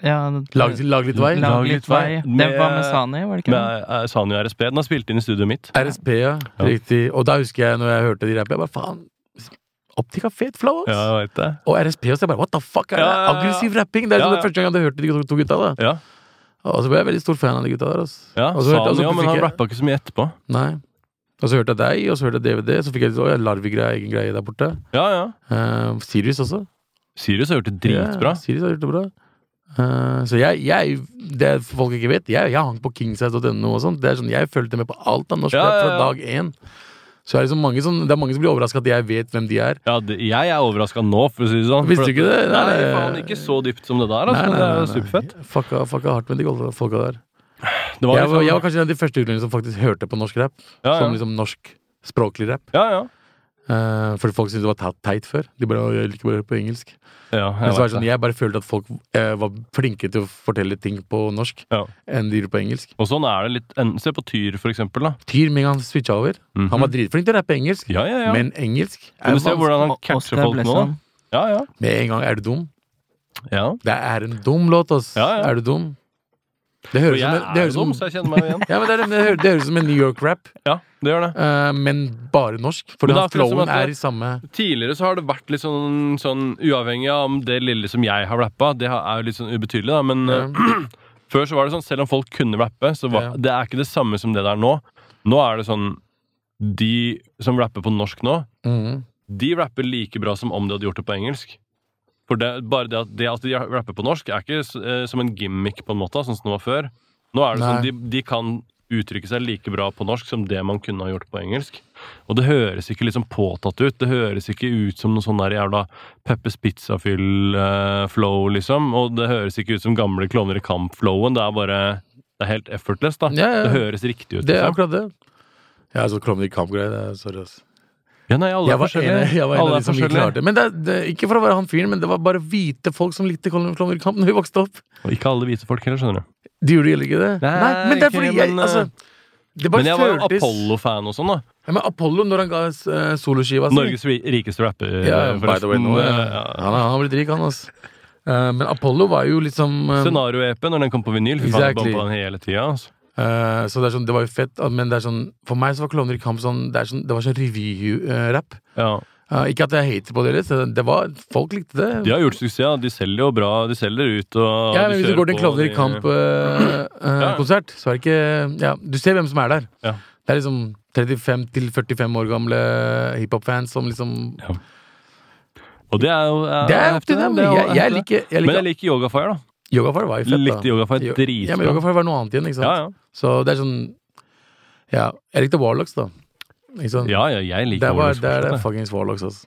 Ja,
lag, lag litt vei.
lag litt vei. Det
Med-
var med Sani, var det ikke det?
Men eh, Sanyo RSB, den har spilt inn i studioet mitt.
RSP, ja.
Ja.
Riktig. Og da husker jeg, når jeg hørte de rappe, jeg bare faen Optic har fet flow, ass.
Ja, jeg vet det.
Og RSP også. Jeg bare, What the fuck? Er det
Ja, ja, ja.
aggressiv rapping? Det er
Ja,
sånn
ja.
det første gang jeg hadde hørt de to- to gutta. da
Ja,
Og så ble jeg veldig stor fan av de gutta der. Altså.
ja.
Og så hørte jeg-
Sanyo,
altså,
men
fikk
han
jeg-
rappa ikke så mye etterpå.
Nei. Og så hørte jeg deg, og så hørte jeg DVD. Så fikk jeg litt, å, ja, Larvik er egen greie der borte.
Ja, ja.
Eh, Sirius også.
Sirius har gjort det
Ja,
dritbra.
Sirius har gjort det bra. Eh, så jeg, jeg det folk ikke vet, jeg, jeg hang på kingsize.no og sånt. Det er sånn, Jeg fulgte med på alt av norsk
Ja,
rap
ja, ja.
fra dag én. Så er det, så mange som, det er mange som blir overraska at jeg vet hvem de er.
Ja, det, jeg er overraska nå, for å si det sånn. For
Visste du
at-
ikke det?
Nei, faen, ikke så dypt som det der. Altså. Det er superfett.
Fucka, fucka hardt med de golde folka der.
Det var
jeg, var,
liksom-
jeg var kanskje en av de første utlendingene som faktisk hørte på norsk rap.
ja,
Som
ja.
liksom norsk språklig rap.
ja, ja.
Eh, fordi folk syntes det var te- teit før. De bare, «Å, jeg liker bare å høre på engelsk.
ja
Men
jeg
så
vet
er det sånn,
det.
jeg bare følte at folk eh, var flinkere til å fortelle ting på norsk
Ja.
enn de gjorde på engelsk.
Og sånn er det litt en- Se på Tyr, for eksempel. Da.
Tyr med en gang han switcha over.
Mhm.
Han var dritflink til å rappe engelsk,
Ja, ja, ja.
men engelsk er
Kan du se
vanskelig.
hvordan han
Og-
catcher
Oscar
folk nå? da?
Blesson.
Ja, ja.
Med en gang er du dum.
ja.
Det er en dum låt, ass.
Ja, ja.
Er du dum? Det
Og jeg
høres som, en- det
er
høres
jo dum,
som,
så jeg kjenner meg
[laughs]
jo igjen.
ja, men det, er, det, høres, det høres som en New York-rap,
Ja, det gjør det.
men bare norsk. For
Men det er
den
akkurat som
flowen
at det-
er i samme
Tidligere så har det vært litt sånn, sånn uavhengig av om det lille som jeg har rappa, det har- er jo litt sånn ubetydelig, da, men
Ja.
eh, før så var det sånn selv om folk kunne rappe, så var,
Ja.
det er ikke det samme som det der nå. Nå er det sånn De som rapper på norsk nå,
Mhm.
de rapper like bra som om de hadde gjort det på engelsk. For det, bare det at, det at de rapper på norsk, er ikke s- eh, som en gimmick, på en måte, sånn som det var før. Nå er det
Nei.
sånn, de, de kan uttrykke seg like bra på norsk som det man kunne ha gjort på engelsk. Og det høres ikke liksom påtatt ut. Det høres ikke ut som noe sånn der jævla Peppers Pizza-fyll-flow, liksom. Og det høres ikke ut som gamle Klovner i kamp-flowen. Det er bare Det er helt effortless, da.
Ja, ja.
Det høres riktig ut.
Det er
Liksom.
akkurat det. Jeg er så klovn i kamp-greie. det er- Sorry, ass.
Ja, nei, alle
Jeg
er
var, en,
forskjellige.
jeg var en
Alle
av
er
de som ikke
forskjellige.
klarte det. Men det, er- det, er ikke for å være han fyren, men det var bare hvite folk som likte Colin Klovner i kamp når vi vokste opp.
Og ikke alle hvite folk heller, skjønner du.
De gjorde heller ikke det.
Nei,
men det er
ikke,
fordi jeg
men, eh,
altså,
Men
Det bare
jeg var jo
føltes Altså,
Apollo-fan og sånn, da.
Ja, men Apollo, når han ga eh, soloskiva si
Norges ri- rikeste rapper, Eh,
ja, by the way, nå, ja.
Ja.
Han, er- han har blitt rik, han, altså. Eh, men Apollo var jo liksom eh,
Scenario-apen, når den kom på vinyl, fy faen,
Exactly.
bomba den hele tida. Altså.
eh, Så det er sånn, det var jo fett, ah, men det er sånn For meg så var Klovner i kamp sånn Det, er sånn, det var sånn revy-rapp.
Ja.
ikke at jeg hater på det, eller, så det var, folk likte det.
De har gjort suksess, da. de selger jo bra. De selger ut og
Ja,
de
men Hvis du
kjører
går til
på,
en Klovner i
de- [clears throat] Ja.
kamp-konsert, så er det ikke Ja, du ser hvem som er der.
Ja.
Det er liksom 35-45 år gamle hiphop-fans som liksom
Ja. Og det er jo
Det er opp
heftig,
til dem!
det er jo
Jeg, jeg
heftig.
liker, jeg
Men jeg
liker
liker Yogafire, da.
Yogafar var jo fett,
Likte
da.
Yogafire
Jo-
dritbra.
Ja, men Yogafar var noe annet igjen, ikke sant?
Ja, ja.
Så det er sånn Ja, jeg likte Warlocks, da. Ikke sant?
ja, ja, jeg liker
det var,
Warlocks
det er
fortsatt, jeg.
fuckings Warlocks, altså.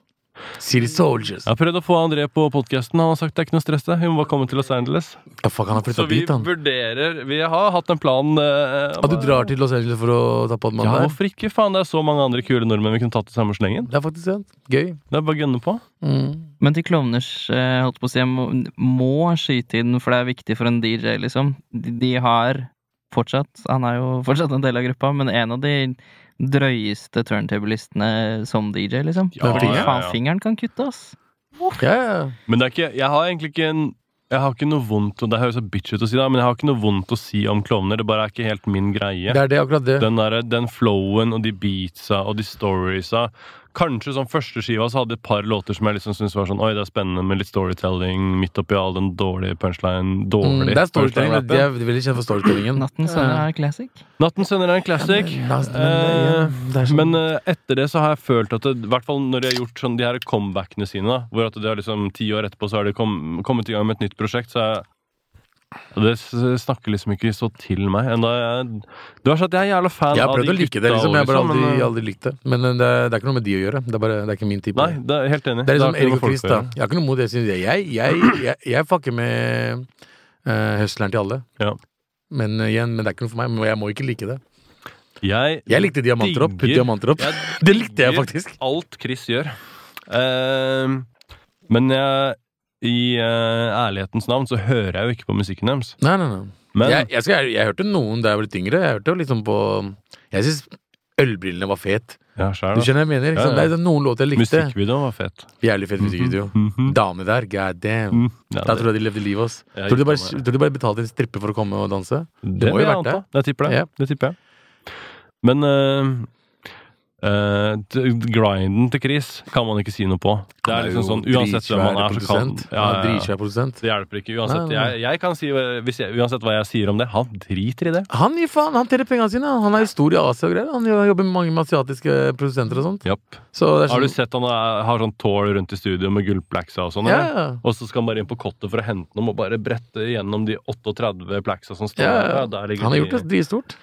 City Soldiers.
Jeg har prøvd å få André på podkasten. Han har sagt det er ikke noe stress. det. Vi må bare komme til Los Angeles.
Ja, fuck, han har
Så
flytta
vi
dit, han.
vurderer Vi har hatt en plan. eh,
At du drar til Los Angeles for å ta på den
Ja,
mannen der?
hvorfor ikke? Faen, det er så mange andre kule nordmenn vi kunne tatt i samme slengen.
Det er faktisk sant. Gøy.
Det er bare å gønne på.
Mm.
Men til Klovners eh, holdt på å si, jeg må, må skyte inn, for det er viktig for en DJ, liksom. De, de har fortsatt Han er jo fortsatt en del av gruppa, men en av de drøyeste turntablistene som DJ, liksom.
Ja,
Fy
ja,
faen,
ja.
fingeren kan kutte, ass.
Ja, ja.
Men det er ikke, jeg har egentlig ikke en jeg har ikke noe vondt, og Det høres så bitch ut å si, da, men jeg har ikke noe vondt å si om klovner. Det bare er ikke helt min greie.
Det er det, akkurat det.
Den, der, den flowen og de beatsa og de storiesa. Kanskje som første skiva så hadde jeg et par låter som jeg liksom syntes var sånn Oi, det er spennende med litt storytelling midt oppi all den dårlige punchline
Mm,
Dårlig
det er storytelling. men De
punchline-rappen.
er veldig kjent for storytellingen.
Nattens sønner er classic.
Natten sender er en classic.
Last- men, ja, det er sånn-
Eh, Men eh, etter det så har jeg følt at det, i hvert fall når de har gjort sånn de her comebackene sine, da, hvor at det er liksom ti år etterpå så har de kom, kommet i gang med et nytt prosjekt, så jeg og det s- snakker liksom ikke så til meg enda jeg, Det var sånn at jeg er jævla fan
Jeg har
av
prøvd
de
å like det,
gutta
liksom.
også,
Jeg har bare aldri,
men, eh,
aldri likt det. Men eh, det er, det er ikke noe med de å gjøre. Det er, bare, det er ikke min type.
Nei, det er helt enig.
det er liksom
har ikke noe
Erik og
med folk
Chris,
å
da.
gjøre.
Jeg har ikke noe mot det. Jeg, synes- jeg, jeg, jeg, jeg, jeg fucker med eh, høstleren til alle.
Ja.
Men eh, igjen, men det er ikke noe for meg. Men jeg må ikke like det.
Jeg,
Jeg likte diamanter opp.
digger-
Diamanter opp.
jeg
[laughs] Det likte jeg
digger
faktisk.
Alt Chris gjør. Ehm, men jeg, i eh, ærlighetens navn så hører jeg jo ikke på musikken deres.
Nei, nei, nei.
Men
jeg, jeg, skal, jeg, jeg hørte noen da jeg ble litt yngre. Jeg hørte jo liksom på Jeg syns ølbrillene var fet.
ja, skjær,
Du
da.
skjønner hva jeg mener? Ikke sant?
Ja, ja.
Det er noen låter jeg likte.
Musikkvideoen var fet.
Jævlig fet musikkvideo.
Mhm.
Dame der, god damn.
Mm. Ja,
Da
det-
tror jeg de levde livet, ass.
Ja,
Tror du de bare,
ikke noe.
tror du de bare betalte en stripper for å komme og danse?
Det
må
vil
jo
jeg
vært det.
anta. Jeg tipper det.
Ja.
Det tipper jeg. Men eh, eh, d- grinden til Chris kan man ikke si noe på. Det er liksom sånn, Uansett hvem han er, så kan ja,
ja,
ja, ja.
Dritsvær produsent.
Det hjelper ikke. Uansett,
Nei, nei.
jeg, jeg kan si, hvis jeg, uansett hva jeg sier om det, han driter i det.
Han gir faen, han teller pengene sine. Han er jo stor i Asia og greier. Han jo- jobber med mange med asiatiske produsenter og sånt.
Japp.
Så det er
Har du
sånn
sett han er- har sånn tål rundt i studio med gullplaxa og sånn?
Ja,
eller?
ja.
Og så skal han bare inn på kottet for å hente dem og bare brette gjennom de 38 plaxa som står
ja,
der. Ja,
ja.
der ligger
Han har
de-
gjort det dritstort.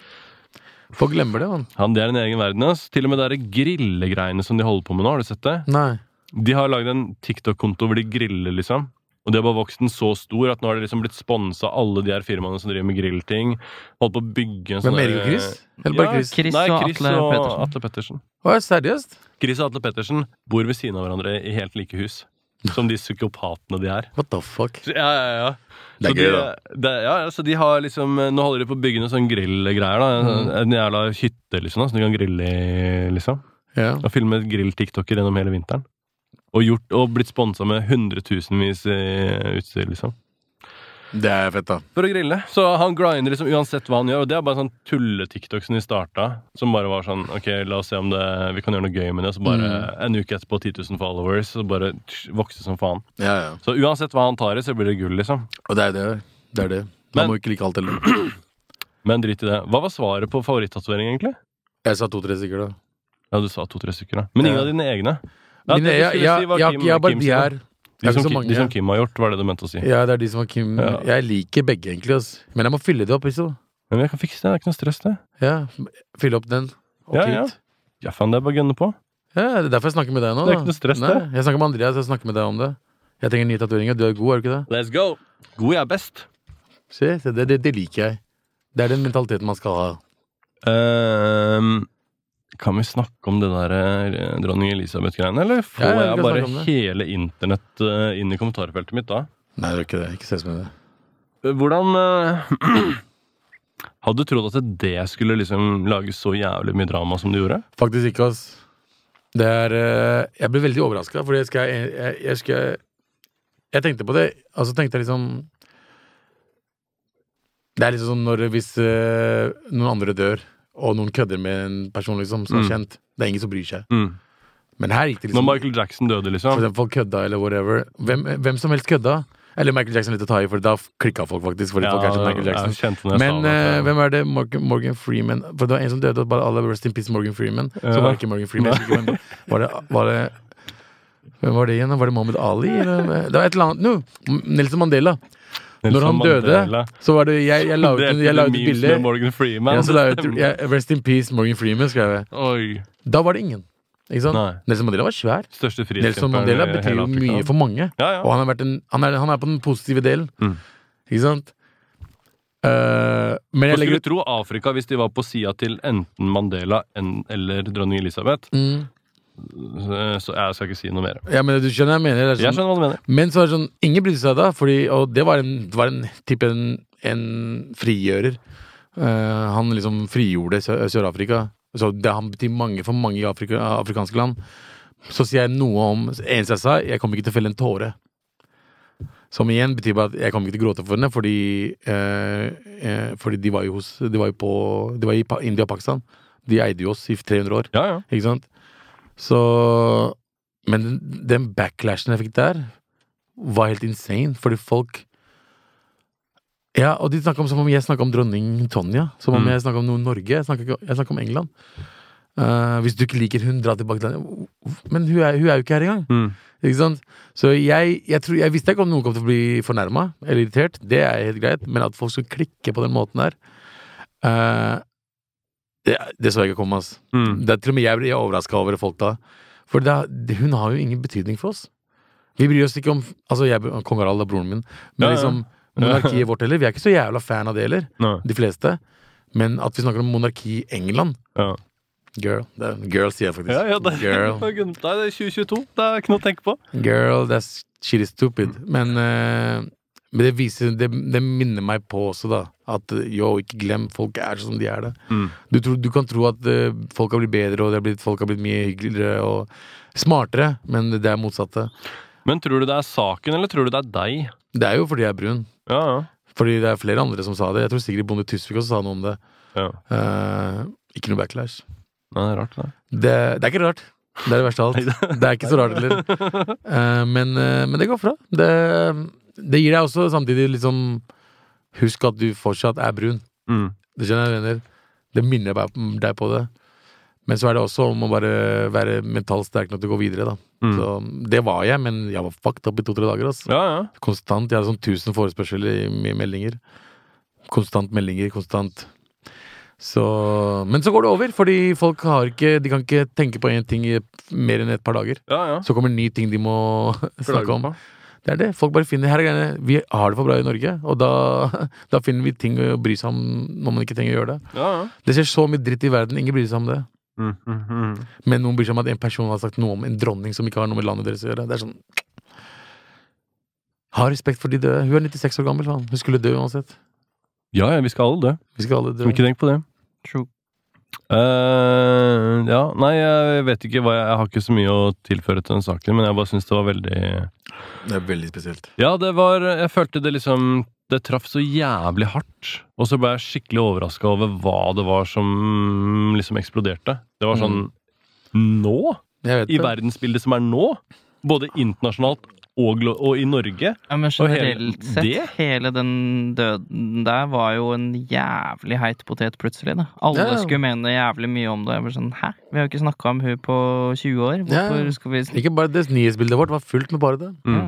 Folk glemmer det, man.
Han, Det er en egen verden. ass. Til og med det der grillegreiene som de holder på med nå, har du sett det?
Nei.
De har lagd en TikTok-konto hvor de griller, liksom. Og de har bare vokst den så stor at nå har de liksom blitt sponsa alle de her firmaene som driver med grillting. Holdt på å bygge en
Hvem
sånn
Erik og
der-
Chris? Eller bare
Ja,
Chris?
Chris
Nei,
og
Chris
Atle
og
Pettersen.
Atle Pettersen.
Å, ja, seriøst?
Chris og Atle Pettersen bor ved siden av hverandre i helt like hus. Som de psykopatene de er.
What the fuck?
Så- Ja, ja, ja.
Det er
Så
gøy,
de,
da.
Det, ja, ja, så de har liksom Nå holder de på å bygge noen sånne grillgreier, da. En,
Mm.
en jævla hytte, liksom, da, som de kan grille i, liksom.
Ja.
Og filmet grill-tiktoker gjennom hele vinteren. Og, gjort, og blitt sponsa med hundretusenvis eh, utstyr, liksom.
Det er fett, da.
For å grille. Så han grinder liksom uansett hva han gjør. Og det er bare en sånn tulle-tiktok som de starta. Som bare var sånn Ok, la oss se om det, vi kan gjøre noe gøy med det. Så bare
Mm.
en uke etterpå 10 000 followers, og bare tsk, vokse som faen.
Ja, ja.
Så uansett hva han tar i, så blir det gull, liksom.
Og det er det. Det er det. Man
Men-
må ikke like alt heller.
Men drit i det. Hva var svaret på favorittatovering, egentlig?
Jeg sa to-tre stykker, da.
Ja, du sa to-tre stykker, da. Men ingen
Ja.
av dine egne? Ja,
Mine,
det du
jeg,
skulle
jeg,
si var
jeg,
Kim-
jeg, har bare
Kims
de
da.
her. Det
De
er ikke
som,
så
Ki-
mange.
de som Kim har gjort, var det du mente å si.
Ja, det er de som har Kim.
Ja.
Jeg liker begge, egentlig. ass. Men jeg må fylle det opp. Liksom.
Men jeg kan fikse det, det er ikke noe stress, det.
Ja, Fylle opp den. Og
Ja,
Kit.
ja. Ja, faen, det er bare å gunne på.
Ja, det er derfor jeg snakker med deg nå.
Det er
da.
ikke noe stress,
Nei,
det.
Jeg snakker med Andreas, jeg snakker med deg om det. Jeg trenger nye tatoveringer. Du er god, er du ikke det?
Let's go! God jeg er best.
Se, se det, det, det liker jeg. Det er den mentaliteten man skal ha.
Ehm, kan vi snakke om det der eh, dronning Elisabeth-greiene, eller får
Ja, ja, vi
jeg
kan
bare
snakke om det.
hele internett eh, inn i kommentarfeltet mitt da?
Nei, det er ikke det. Ikke stress med det.
Eh, Hvordan
[clears throat]
eh, Hadde du trodd at det skulle liksom lage så jævlig mye drama som det gjorde?
Faktisk ikke, ass. Det er eh, Jeg ble veldig overraska, for jeg skal jeg, jeg, jeg skal Jeg tenkte på det, og så tenkte jeg liksom Det er liksom som når hvis eh, noen andre dør, og noen kødder med en person liksom som
Mm.
er kjent. Det er ingen som bryr seg. Men her gikk det
Når
liksom
Michael Jackson døde,
Mm. For
liksom.
eksempel folk kødda eller whatever. Hvem, hvem som helst kødda. Eller Michael Jackson litt å ta i, for da klikka folk faktisk. Fordi folk er som Michael Jackson
jeg kjente når jeg
men
sa det.
eh, hvem er det? Morgan, Morgan Freeman For det var en som døde, og bare alle rest in peace Morgan Freeman. Så
Ja.
var det ikke Morgan Freeman. jeg husker ikke hvem det- Var det, var det hvem var det igjen? da? Var det Mohammed Ali? Eller? Det var et eller annet no, Nelson Mandela.
Nelson
Når han
Mandela.
døde, så var det Jeg, jeg la ut
Delte
jeg la ut et
memes
bilde.
med Morgan Freeman.
Ja, så la
[laughs]
jeg
det
ut,
stemmer.
jeg, rest in peace Morgan Freeman, skrev jeg.
Oi.
Da var det ingen. Ikke sant?
Nei.
Nelson Mandela var svær.
Største
Nelson
frihetskjemperen
Mandela
i
betyr
hele
jo
Afrika.
mye for mange.
ja, ja.
Og han, har vært en, han, er, han er på den positive delen.
Mm.
Ikke sant? Eh, men jeg
Man
legger
skulle
ut
tro Afrika, hvis de var på sida til enten Mandela en, eller dronning Elisabeth.
mm,
eh, Så jeg skal ikke si noe mer.
ja, men Du skjønner hva jeg mener? Det
Jeg
er sånn,
skjønner hva du mener.
men så er det sånn Ingen brydde seg da, fordi, og det var en, det var en type en, en frigjører. Eh, han liksom frigjorde Sø- Sør-Afrika. Så det har betydd mange for mange afrika, afrikanske land. Så sier jeg noe om Eneste jeg sa, jeg kommer ikke til å felle en tåre. Som igjen betyr bare at jeg kommer ikke til å gråte for henne, fordi, eh, eh, fordi de var jo hos De var jo på De var i pa India og Pakistan. De eide jo oss i 300 år,
Ja, ja.
ikke sant? Så Men den, den backlashen jeg fikk der, var helt insane, fordi folk ja, og de snakket om som om jeg snakka om dronning Tonja. Som om
Mm.
jeg snakka om noe Norge. Jeg snakka ikke- jeg snakket om England. Eh, hvis du ikke liker hun, dra tilbake til landet. Men hun er, hun er jo ikke her engang.
Mm.
Ikke sant? Så jeg, jeg, tror, jeg visste ikke om noen kom til å bli fornærma eller irritert. Det er helt greit, men at folk skulle klikke på den måten der eh, det, det så jeg ikke komme, ass.
Mm.
Det er til og med jeg blir overraska over folk da. For det, er- det, hun har jo ingen betydning for oss. Vi bryr oss ikke om Altså, jeg, kong Harald er broren min, men
Ja, ja.
liksom monarkiet vårt heller. Vi er ikke så jævla fan av det heller,
Nei.
de fleste. Men at vi snakker om monarki i England
Ja.
Girl, det, er- girl sier jeg faktisk.
Ja, ja, det,
Girl.
[laughs] Nei, det er 2022. Det er ikke noe å tenke på.
Girl, that's shit is stupid.
Mm.
Men, eh, men det viser det, det minner meg på også, da. At eh, yo, ikke glem, folk er som de er, det.
Mm.
Du, tror, du kan tro at eh, folk har blitt bedre, og det har blitt, folk har blitt mye hyggeligere og smartere, men det er motsatte.
Men tror du det er saken, eller tror du det er deg?
Det er jo fordi jeg er brun.
Ja, ja.
Fordi det er flere andre som sa det. Jeg tror Sigrid Bonde Tusvik også sa noe om det.
Ja.
Eh, ikke noe backlash.
Nei, det er rart, det.
Det, det er ikke rart. Det er det verste av alt. Det er ikke så rart heller. Eh, men, eh, men det går fra. Det, det gir deg også samtidig liksom Husk at du fortsatt er brun.
Mm.
Det skjønner jeg mener. Det minner bare deg på det. Men så er det også om å bare være mentalt sterk nok til å gå videre, da.
Mm.
Så det var jeg, men jeg var fucked up i to-tre dager, ass.
Ja, ja.
Konstant. Jeg hadde sånn 1000 forespørsler i mi- meldinger. Konstant meldinger, konstant. Så, men så går det over, fordi folk har ikke, de kan ikke tenke på én ting i mer enn et par dager.
ja, ja.
Så kommer ny ting de må [laughs] snakke om. Det er det. Folk bare finner her er greiene. Vi har det for bra i Norge, og da, [laughs] da finner vi ting å bry seg om når man ikke trenger å gjøre det.
ja, ja.
Det skjer så mye dritt i verden, ingen bryr seg om det.
Mm, mm, mm.
Men noen bryr seg om at en person har sagt noe om en dronning som ikke har noe med landet deres å gjøre. Det er sånn Ha respekt for de døde. Hun er 96 år gammel, faen. Hun skulle dø uansett.
ja, ja, vi skal alle dø.
Vi skal alle dø.
Ikke tenk på det.
True.
Eh, ja, nei, jeg vet ikke hva jeg, jeg har ikke så mye å tilføre til den saken, men jeg bare syns det var veldig
Det er veldig spesielt.
Ja, det var Jeg følte det liksom Det traff så jævlig hardt. Og så ble jeg skikkelig overraska over hva det var som liksom eksploderte. Det var sånn Nå?
Jeg vet
I
det.
verdensbildet som er nå? Både internasjonalt og, glo- og i Norge?
Ja, men
Og hele
generelt sett,
det?
hele den døden der var jo en jævlig heit potet plutselig, da. Alle
Ja, ja.
skulle mene jævlig mye om det. Jeg var sånn, hæ? Vi har jo ikke snakka om hun på 20 år.
Ja,
Hvorfor
ja.
skal vi
Ikke bare det. Nyhetsbildet vårt var fullt med bare det.
Mm.
Ja.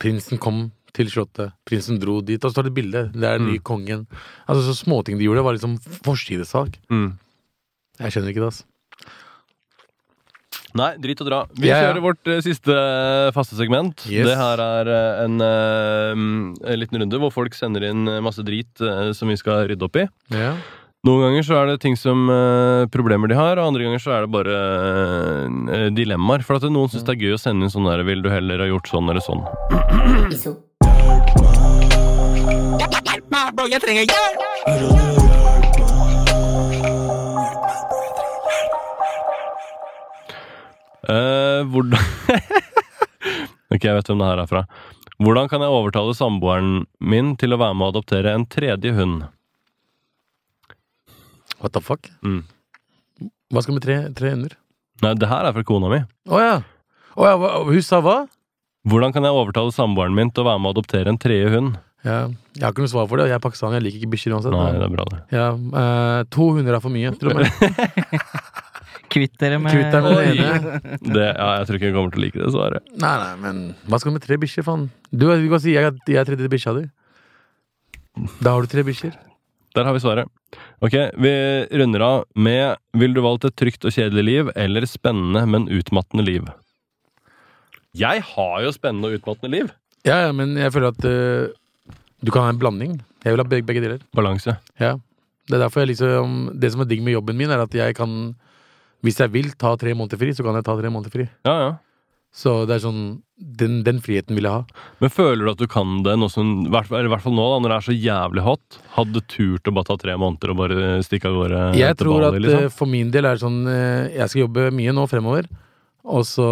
Prinsen kom til slottet. Prinsen dro dit. Og så tar de bilde. Det er den
Mm.
nye kongen. Altså, så småting de gjorde, var liksom forsidesak.
Mm.
Jeg skjønner ikke det, ass.
Nei, drit og dra. Vi
Ja, ja.
kjører vårt eh, siste eh, faste segment.
Yes.
Det her er eh, en, eh, mm, en liten runde hvor folk sender inn eh, masse drit eh, som vi skal rydde opp i.
Ja.
Noen ganger så er det ting som eh, problemer de har, og andre ganger så er det bare eh, dilemmaer. For at noen syns det er gøy å sende inn sånn der 'vil du heller ha gjort sånn eller sånn'. Eh, hvordan [laughs] Ok, jeg vet hvem det her er fra. Hvordan kan jeg overtale samboeren min til å være med å adoptere en tredje hund?
What the fuck?
Mm.
Hva skal vi med tre, tre ender?
Nei, det her er fra kona mi.
Å ja. Å ja, hva- hun sa hva?
Hvordan kan jeg overtale samboeren min til å være med å adoptere en tredje hund?
Ja. Jeg har ikke noe svar for det. Jeg er pakistaner, jeg liker ikke bikkjer uansett.
Nei,
men-
det er bra, det.
Ja, eh, to hunder er for mye,
[laughs]
tror jeg.
Kvitt dere med
Kvitt deg med den ene.
det ja, jeg tror ikke hun kommer til å like det svaret.
Nei, nei, men hva skal du med tre bikkjer, faen? Du, du kan si jeg, er- jeg er tredje bikkja di. Da har du tre bikkjer.
Der har vi svaret. Ok, vi runder av med Vil du valgt et trygt og kjedelig liv eller spennende, men utmattende liv? Jeg har jo spennende og utmattende liv.
Ja, ja, men jeg føler at eh, du kan ha en blanding. Jeg vil ha begge, begge deler.
Balanse.
Ja. Det er derfor jeg liksom Det som er digg med jobben min, er at jeg kan Hvis jeg vil ta tre måneder fri, så kan jeg ta tre måneder fri.
Ja, ja.
Så det er sånn Den, den friheten vil jeg ha.
Men føler du at du kan det, nå som, i hvert fall- eller i hvert fall nå, da, når det er så jævlig hot? Hadde du turt å bare ta tre måneder og bare stikke av gårde liksom?
Jeg
til
tror at
Bali,
eh, for min del er det sånn eh, Jeg skal jobbe mye nå fremover. Og så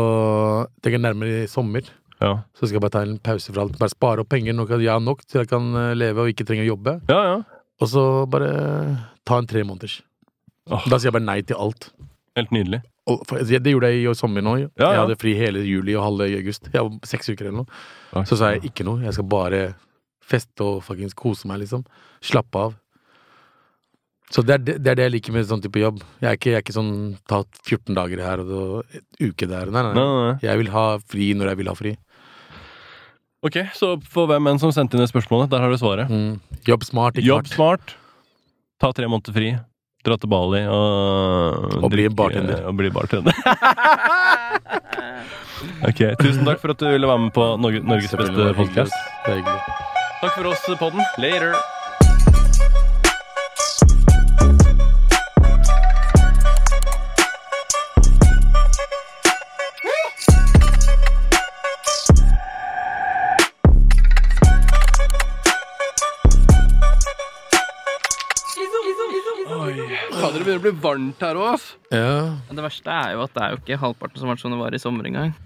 tenker jeg nærmere i sommer.
Ja.
Så skal jeg bare ta en pause fra alt. Bare spare opp penger nok at jeg har nok til jeg kan eh, leve og ikke trenger å jobbe.
ja, ja.
Og så bare ta en tre måneders.
Åh.
Da sier jeg bare nei til alt.
Helt nydelig.
Og for, jeg- det gjorde jeg i sommer nå.
Ja,
Jeg
ja.
hadde fri hele juli og halve august. Jeg var seks uker eller noe. Så sa jeg ikke noe. Jeg skal bare feste og fuckings kose meg, liksom. Slappe av. Så det er det, det er det jeg liker med sånn type jobb. Jeg er ikke, jeg er ikke sånn ta 14 dager her og da- en uke der. Nei, nei.
Nei, nei, nei.
Jeg vil ha fri når jeg vil ha fri.
Ok, så for hvem enn som sendte inn det spørsmålet, der har du svaret.
Mm. Jobb smart, ikke
Jobb
hardt.
smart. Ta tre måneder fri. Dra til Bali og
Og bli
drikke-
bartender.
Og bli bartender. [laughs] ok, Tusen takk for at du ville være med på Norge, Norges beste
Selvfølgelig, det er hyggelig, ass.
podkast.
Det er hyggelig.
Takk for oss, podden. Later. Fader, det begynner å bli varmt her òg, ass.
Ja.
Men Det verste er jo at det er jo ikke halvparten som har vært sånn det var i sommer engang.